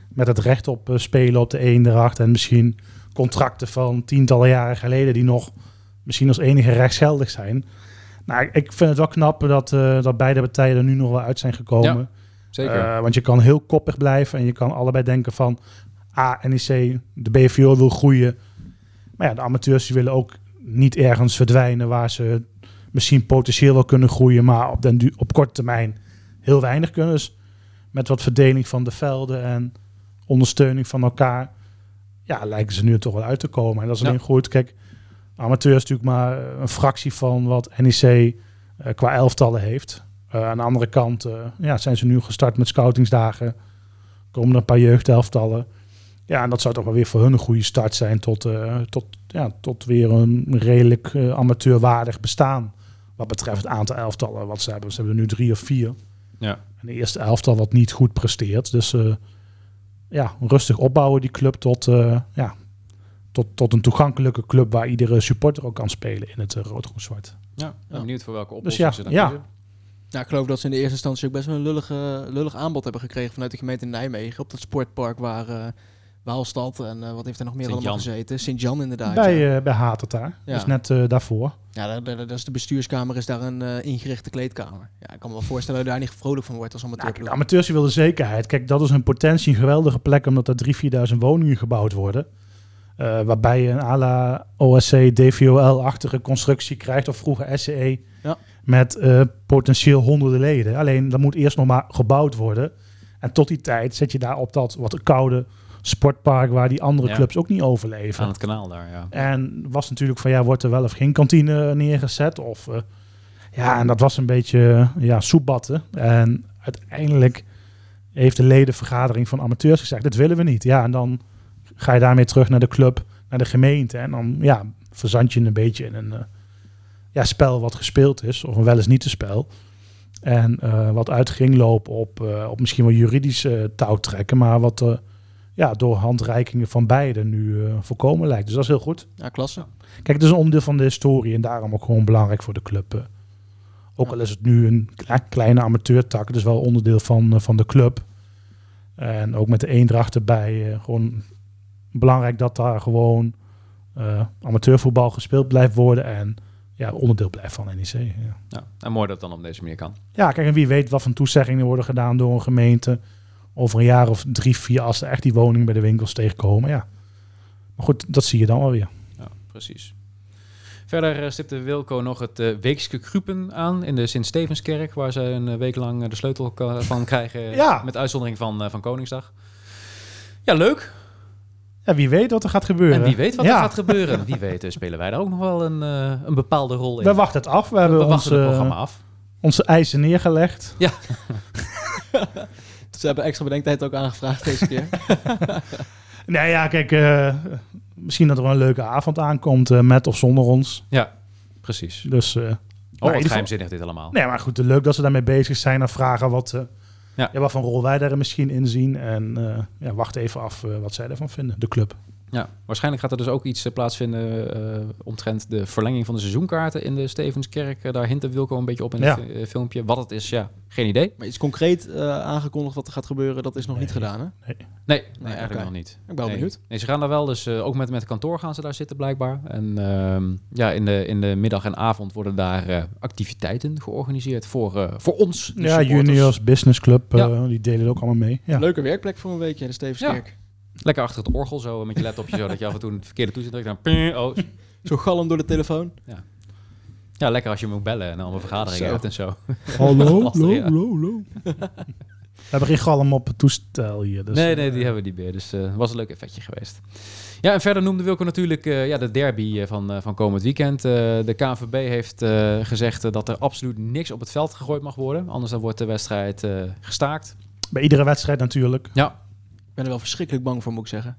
S3: Met het recht op eh, spelen op de eendracht en misschien contracten van tientallen jaren geleden die nog misschien als enige rechtsgeldig zijn. Nou, ik vind het wel knap dat, eh, dat beide partijen er nu nog wel uit zijn gekomen.
S2: Ja. Zeker.
S3: Eh, want je kan heel koppig blijven en je kan allebei denken van... A, NEC, de BVO wil groeien. Maar ja, de amateurs die willen ook niet ergens verdwijnen... waar ze misschien potentieel wel kunnen groeien... maar op, den du- op korte termijn heel weinig kunnen. Dus met wat verdeling van de velden en ondersteuning van elkaar... ja, lijken ze nu er toch wel uit te komen. En dat is
S2: Ja.
S3: alleen goed. Kijk, amateurs is natuurlijk maar een fractie van wat NEC eh, qua elftallen heeft... Eh, aan de andere kant eh, ja, zijn ze nu gestart met scoutingsdagen. Komen er een paar jeugdelftallen. Ja, en dat zou toch wel weer voor hun een goede start zijn tot, eh, tot, ja, tot weer een redelijk eh, amateurwaardig bestaan. Wat betreft het aantal elftallen wat ze hebben. Ze hebben er nu drie of vier.
S2: Ja.
S3: En de eerste elftal wat niet goed presteert. Dus eh, ja, rustig opbouwen die club tot, eh, ja, tot, tot een toegankelijke club waar iedere supporter ook kan spelen in het eh, rood-groen-zwart.
S2: ja, ik ben benieuwd voor welke
S3: Dus
S2: oplossing
S3: ja,
S2: ze dan
S3: ja,
S2: kiezen.
S4: Nou, ik geloof dat ze in de eerste instantie ook best wel een lullige, lullig aanbod hebben gekregen vanuit de gemeente Nijmegen. Op dat sportpark waar eh, Waalstad en eh, wat heeft er nog meer
S2: Sint-Jan.
S4: allemaal gezeten? Sint-Jan inderdaad.
S3: bij,
S4: ja,
S3: eh bij Hatert daar.
S4: Ja.
S3: Dus net eh, daarvoor.
S4: ja daar, daar- daar is de bestuurskamer is daar een eh, ingerichte kleedkamer. Ja, ik kan me wel voorstellen dat je daar niet vrolijk van wordt als
S3: Nou, kijk,
S4: amateurploeg.
S3: de amateurs die willen zekerheid. Kijk, dat is een potentie een geweldige plek, omdat er 3.000, 4.000 woningen gebouwd worden. Eh, waarbij je een à la OSC, DVOL-achtige constructie krijgt, of vroeger SCE,
S4: Ja.
S3: met eh, potentieel honderden leden. Alleen, dat moet eerst nog maar gebouwd worden. En tot die tijd zet je daar op dat wat koude sportpark, waar die andere
S2: Ja.
S3: clubs ook niet overleven.
S2: Aan het kanaal daar, ja.
S3: En was natuurlijk van ja, wordt er wel of geen kantine neergezet? Of, eh, ja, en dat was een beetje eh, ja, soepbatten. En uiteindelijk heeft de ledenvergadering van amateurs gezegd: dat willen we niet. Ja, en dan ga je daarmee terug naar de club, naar de gemeente. En dan ja, verzand je een beetje in een eh, ja, spel wat gespeeld is, of een wel eens niet te spel. En eh, wat uitging lopen op, eh, op misschien wel juridisch eh, touw trekken, maar wat eh, ja, door handreikingen van beiden nu eh, voorkomen lijkt. Dus dat is heel goed.
S4: Ja, klasse.
S3: Kijk, het is een onderdeel van de historie en daarom ook gewoon belangrijk voor de club. eh. Ook
S4: Ja.
S3: al is het nu een kle- kleine amateurtak, het is wel onderdeel van, eh, van de club. En ook met de Eendracht erbij. eh, gewoon belangrijk dat daar gewoon eh, amateurvoetbal gespeeld blijft worden. En ja, onderdeel blijft van NEC. Ja.
S2: Ja. En mooi dat het dan op deze manier kan.
S3: ja, kijk, en wie weet wat voor toezeggingen worden gedaan door een gemeente. Over een jaar of drie, vier, als er echt die woning bij de winkels tegenkomen. Ja. Maar goed, dat zie je dan wel weer.
S2: Ja, precies. Verder eh, stipte Wilco nog het eh Weekske Krupen aan in de Sint-Stevenskerk, waar ze een eh, week lang eh, de sleutel ka- van krijgen. eh,
S3: Ja.
S2: Met uitzondering van, eh, van Koningsdag. Ja, leuk.
S3: Ja, wie weet wat er gaat gebeuren.
S2: En wie weet wat
S3: ja.
S2: er gaat gebeuren. Wie weet eh, spelen wij daar ook nog wel een, eh, een bepaalde rol in.
S3: We wachten eh, het af. We hebben
S2: We wachten het
S3: onze,
S2: programma af.
S3: onze eisen neergelegd.
S4: Ze hebben extra bedenktijd ook aangevraagd deze keer.
S3: Nou ja, kijk, eh, misschien dat er wel een leuke avond aankomt eh, met of zonder ons.
S2: Precies.
S3: Dus, eh, maar in
S2: Oh,
S3: ieder
S2: wat
S3: geval-
S2: geheimzinnig dit allemaal.
S3: Nee, maar goed, leuk dat ze daarmee bezig zijn en vragen wat, eh,
S2: Ja.
S3: ja. wat voor rol wij daar misschien in zien. En eh, ja, wacht even af eh, wat zij ervan vinden, de club.
S2: Ja, waarschijnlijk gaat er dus ook iets eh, plaatsvinden eh, omtrent de verlenging van de seizoenkaarten in de Stevenskerk. Eh, daar hint de Wilco een beetje op in
S3: Ja.
S2: het eh, filmpje. Wat het is, ja, geen idee.
S4: Maar iets concreet eh, aangekondigd wat er gaat gebeuren, dat is nog niet
S3: Nee.
S4: gedaan. Hè?
S2: Nee, nee, eigenlijk
S4: oké.
S2: nog niet.
S4: Ik ben wel
S2: nee.
S4: benieuwd.
S2: Nee, ze gaan daar wel, dus eh, ook met, met kantoor gaan ze daar zitten blijkbaar. En ehm, ja, in de, in de middag en avond worden daar eh, activiteiten georganiseerd voor, eh, voor ons. de
S3: Ja,
S2: supporters.
S3: juniors, business club, eh,
S2: Ja.
S3: die delen het ook allemaal mee. Ja.
S4: Leuke werkplek voor een weekje in de Stevenskerk.
S2: Lekker achter het orgel zo met je laptopje zo, dat je af en toe het verkeerde toezet drukt. Dan ping, oh.
S4: Zo galm door de telefoon.
S2: Ja, lekker als je moet bellen en allemaal vergaderingen
S4: Zo.
S2: hebt en zo.
S3: Hallo,
S2: Lastig,
S3: hallo,
S2: ja.
S3: hallo, hallo. We hebben geen galm op het toestel hier. Dus,
S2: nee,
S3: eh,
S2: nee, die hebben we niet meer. Dus eh was een leuk effectje geweest. Ja, en verder noemde Wilco natuurlijk eh, ja, de derby eh, van, eh, van komend weekend. Eh, de KNVB heeft eh, gezegd eh, dat er absoluut niks op het veld gegooid mag worden. Anders dan wordt de wedstrijd eh, gestaakt.
S3: Bij iedere wedstrijd natuurlijk.
S4: Ik ben er wel verschrikkelijk bang voor, moet ik zeggen.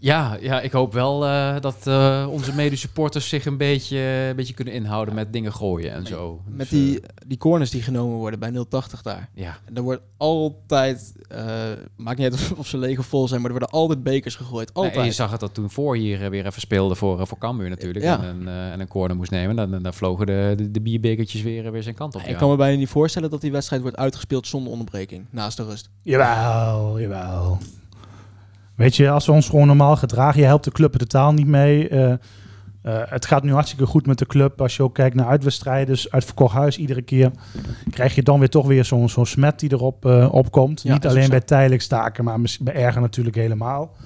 S2: Ja, ja ik hoop wel eh, dat eh, onze medesupporters zich een beetje, een beetje kunnen inhouden met dingen gooien en zo.
S4: Met
S2: Dus,
S4: die,
S2: eh,
S4: die corners die genomen worden bij 080 daar.
S2: ja,
S4: En er wordt altijd, eh, maakt niet uit of ze leeg of vol zijn, maar er worden altijd bekers gegooid.
S2: Nou,
S4: Altijd.
S2: en je zag het dat toen voor hier eh, weer even speelde voor, eh, voor Cambuur natuurlijk.
S4: Ja.
S2: En, een, eh, en een corner moest nemen. Dan, dan vlogen de, de, de bierbekertjes weer, eh, weer zijn kant op.
S4: Ik
S2: ja.
S4: kan me bijna niet voorstellen dat die wedstrijd wordt uitgespeeld zonder onderbreking, naast de rust.
S3: Jawel, jawel. Weet je, als we ons gewoon normaal gedragen, je helpt de club er totaal niet mee. Eh, eh, het gaat nu hartstikke goed met de club. Als je ook kijkt naar uitwedstrijden, dus uitverkocht huis iedere keer, krijg je dan weer toch weer zo'n zo'n smet die erop eh, opkomt.
S4: Ja,
S3: niet
S4: is ook
S3: alleen
S4: zo.
S3: bij tijdelijk staken, maar mis- bij erger natuurlijk helemaal.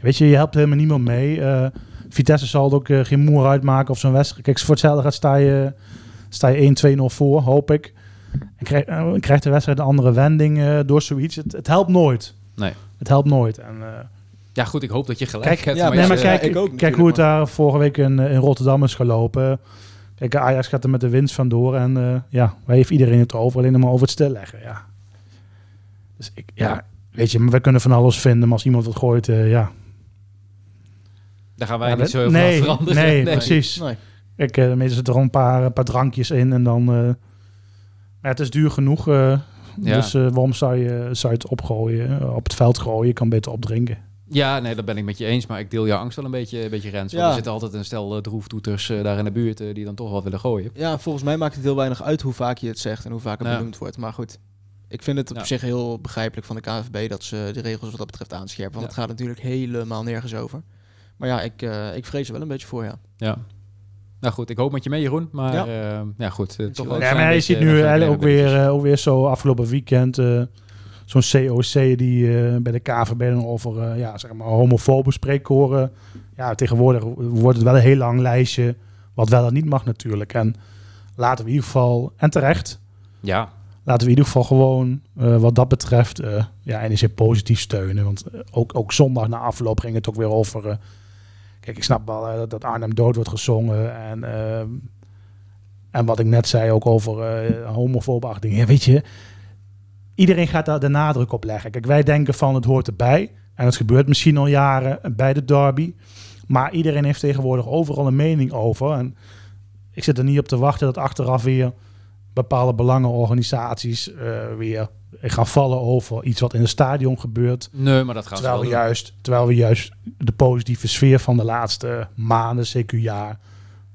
S3: Weet je, je helpt helemaal niemand mee. Eh, Vitesse zal het ook eh, geen moer uitmaken of zo'n wedstrijd. Kijk, voor hetzelfde gaat sta je, sta je 1-2-0 voor, hoop ik. En krijg- eh, krijgt de wedstrijd een andere wending eh, door zoiets. Het, het helpt nooit.
S2: Nee.
S3: Het helpt nooit. En, eh,
S2: Ja, goed, ik hoop dat je gelijk
S3: Kijk,
S2: hebt.
S4: ja,
S2: maar
S3: nee,
S4: ja,
S3: maar
S2: ze-
S3: kijk,
S4: ik ook
S3: kijk
S4: natuurlijk,
S3: hoe het
S4: maar-
S3: daar vorige week in, eh, in Rotterdam is gelopen. Kijk, Ajax gaat er met de winst vandoor. En eh, ja, waar heeft iedereen het over? Alleen nog maar over het stilleggen. Ja. Dus ik, ja,
S2: Ja.
S3: weet je, maar we kunnen van alles vinden. Maar als iemand wat gooit, eh, ja.
S2: daar gaan wij
S3: Ja,
S2: niet
S3: we-
S2: zo heel veel
S3: nee,
S2: aan veranderen.
S3: nee, Precies.
S4: Nee.
S3: Kijk, eh, meestal zitten er een paar, een paar drankjes in. En dan. eh, maar het is duur genoeg. eh,
S2: Ja.
S3: Dus eh, waarom zou je, zou je het opgooien? eh, Op het veld gooien. Je kan beter opdrinken.
S2: Ja, nee, dat ben ik met je eens. Maar ik deel jouw angst wel een beetje, een beetje Rens. Want
S4: Ja.
S2: er zitten altijd een stel eh, droeftoeters eh, daar in de buurt eh, die dan toch wel willen gooien.
S4: Ja, volgens mij maakt het heel weinig uit hoe vaak je het zegt en hoe vaak het
S2: Ja.
S4: benoemd wordt. Maar goed, ik vind het op
S2: Ja.
S4: zich heel begrijpelijk van de KNVB dat ze de regels wat dat betreft aanscherpen. Want
S2: Ja.
S4: het gaat natuurlijk helemaal nergens over. Maar ja, ik, eh, ik vrees er wel een beetje voor, ja.
S2: Ja. Nou goed, ik hoop met je mee, Jeroen. Maar
S4: Ja.
S2: ja, ja goed. eh, toch wel een
S3: Ja,
S2: klein
S3: maar je
S2: beetje
S3: ziet nu
S2: naar
S3: eigenlijk ook weer,
S2: vergelijkbare
S3: eh, ook weer zo afgelopen weekend eh, zo'n COC die eh, bij de KVB dan over eh, ja, zeg maar homofobe spreekkoren. Ja, tegenwoordig wordt het wel een heel lang lijstje wat wel en niet mag natuurlijk. En laten we in ieder geval, en terecht,
S2: dingetjes. Ja,
S3: laten we in ieder geval gewoon eh, wat dat betreft eh ja, NEC positief steunen. Want eh, ook, ook zondag na afloop ging het ook weer over... eh, kijk, ik snap wel eh, dat- dat Arnhem dood wordt gezongen en... eh, en wat ik net zei ook over eh homofobe achting. Ja, weet je, iedereen gaat daar de nadruk op leggen. Kijk, wij denken van het hoort erbij. En het gebeurt misschien al jaren bij de derby. Maar iedereen heeft tegenwoordig overal een mening over. En ik zit er niet op te wachten dat achteraf weer... bij bepaalde belangenorganisaties eh, weer gaan vallen over iets wat in het stadion gebeurt.
S2: Nee, maar dat gaan ze wel
S3: Terwijl we,
S2: doen.
S3: juist, terwijl we juist de positieve sfeer van de laatste maanden, zeker jaar,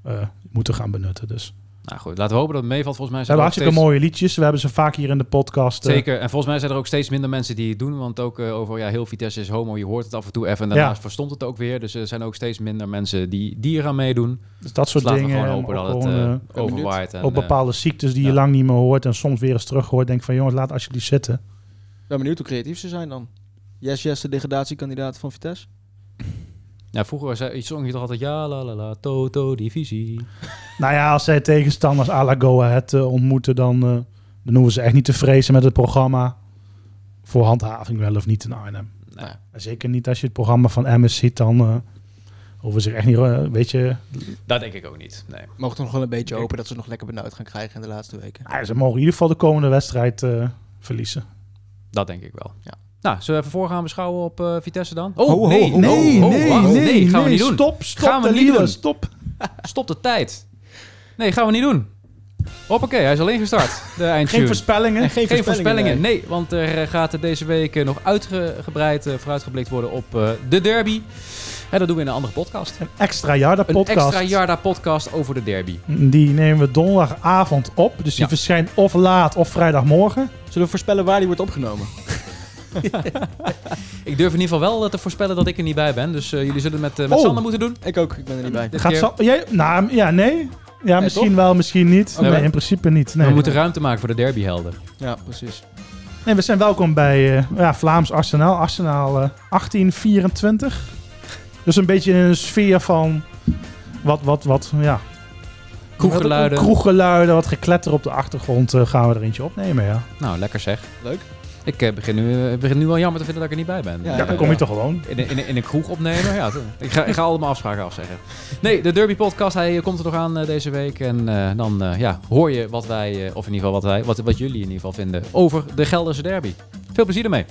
S3: eh, moeten gaan benutten. Dus. Ze
S2: Nou goed, laten we hopen dat het meevalt. Volgens mij zijn
S3: hebben
S2: er ook
S3: hartstikke
S2: steeds-
S3: mooie liedjes. We hebben ze vaak hier in de podcast. eh,
S2: Zeker. En volgens mij zijn er ook steeds minder mensen die het doen. Want ook eh, over ja, heel Vitesse is homo. Je hoort het af en toe even. En daarnaast
S3: Ja.
S2: verstond het ook weer. Dus er zijn ook steeds minder mensen die, die eraan meedoen.
S3: dus dat
S2: Dus
S3: soort
S2: laten we
S3: dingen.
S2: gewoon
S3: en
S2: hopen
S3: ook
S2: dat het
S3: gewoon,
S2: eh,
S3: eh,
S4: benieuwd.
S2: overwaait. En,
S3: ook
S2: eh,
S3: bepaalde ziektes die
S2: ja.
S3: je lang niet meer hoort en soms weer eens terughoort. Denk van jongens, laat alsjeblieft zitten.
S4: Ik ben benieuwd hoe creatief ze zijn dan. Yes, yes, de degradatiekandidaat van Vitesse.
S2: ja, vroeger zei, zong je toch altijd ja, la la la, toto, divisie.
S3: Nou ja, als zij tegenstanders à la Go Ahead eh, ontmoeten, dan, eh, dan hoeven ze echt niet te vrezen met het programma. Voor handhaving wel of niet in Arnhem.
S2: Nou, ja.
S3: En zeker niet als je het programma van Emmes ziet, dan eh hoeven ze zich echt niet... eh, weet je,
S2: dat denk ik ook niet. Nee.
S4: Mogen toch nog wel een beetje hopen dat ze nog lekker benauwd gaan krijgen in de laatste weken.
S3: nou ja, ze mogen in ieder geval de komende wedstrijd eh, verliezen.
S2: Dat denk ik wel.
S4: Ja.
S2: Nou, zullen we even voor gaan beschouwen op eh, Vitesse dan? Oh,
S3: Ho, ho,
S2: nee,
S3: ho, nee,
S2: oh,
S3: nee,
S2: wacht,
S3: nee,
S2: gaan we
S3: nee,
S2: niet doen.
S3: Stop, stop,
S2: Gaan we niet
S3: Dalila,
S2: doen.
S3: stop.
S2: Stop de tijd. Nee, gaan we niet doen. Hoppakee, hij is alleen gestart, de eindtune.
S3: Geen voorspellingen.
S2: Geen, voorspellingen, nee. Want er eh, gaat er deze week eh, nog uitgebreid eh, vooruitgeblikt worden op eh, de derby. En dat doen we in een andere podcast.
S3: Een extra jaar, dat
S2: Een
S3: podcast.
S2: extra Jarda-podcast over de derby.
S3: Die nemen we donderdagavond op. Dus die
S2: Ja.
S3: verschijnt of laat of vrijdagmorgen.
S4: Zullen we voorspellen waar die wordt opgenomen?
S2: Ik durf in ieder geval wel eh, te voorspellen dat ik er niet bij ben. Dus eh, jullie zullen het eh, met
S3: Oh.
S2: Sander moeten doen.
S4: Ik ook, ik ben er niet bij.
S2: Dit
S3: Gaat
S2: keer.
S3: zo, jij, nou, ja, nee. Ja, misschien wel, misschien niet.
S2: Nee,
S3: nee,
S2: we-
S3: in principe niet. Nee.
S2: we moeten ruimte maken voor de derbyhelden.
S4: Ja, precies.
S3: nee, we zijn welkom bij eh, ja, Vlaams Arsenaal. Arsenaal eh 1824. Dus een beetje in een sfeer van wat, wat, wat, ja.
S2: Kroeggeluiden.
S3: Kroeggeluiden, wat gekletter op de achtergrond eh, gaan we er eentje opnemen, ja.
S2: Nou, lekker zeg.
S4: Leuk.
S2: Ik eh, begin, nu, eh, begin nu wel jammer te vinden dat ik er niet bij ben.
S4: Ja,
S2: Eh,
S3: Ja, dan kom je toch gewoon.
S2: In, een- in, een- in een kroeg opnemen. Ja, ik, ga, ik ga allemaal afspraken afzeggen. Nee, de Derby Podcast, hij eh, komt er nog aan eh, deze week. En eh, dan eh, ja, hoor je wat wij, eh, of in ieder geval wat, wij, wat, wat jullie in ieder geval vinden over de Gelderse Derby. Veel plezier ermee.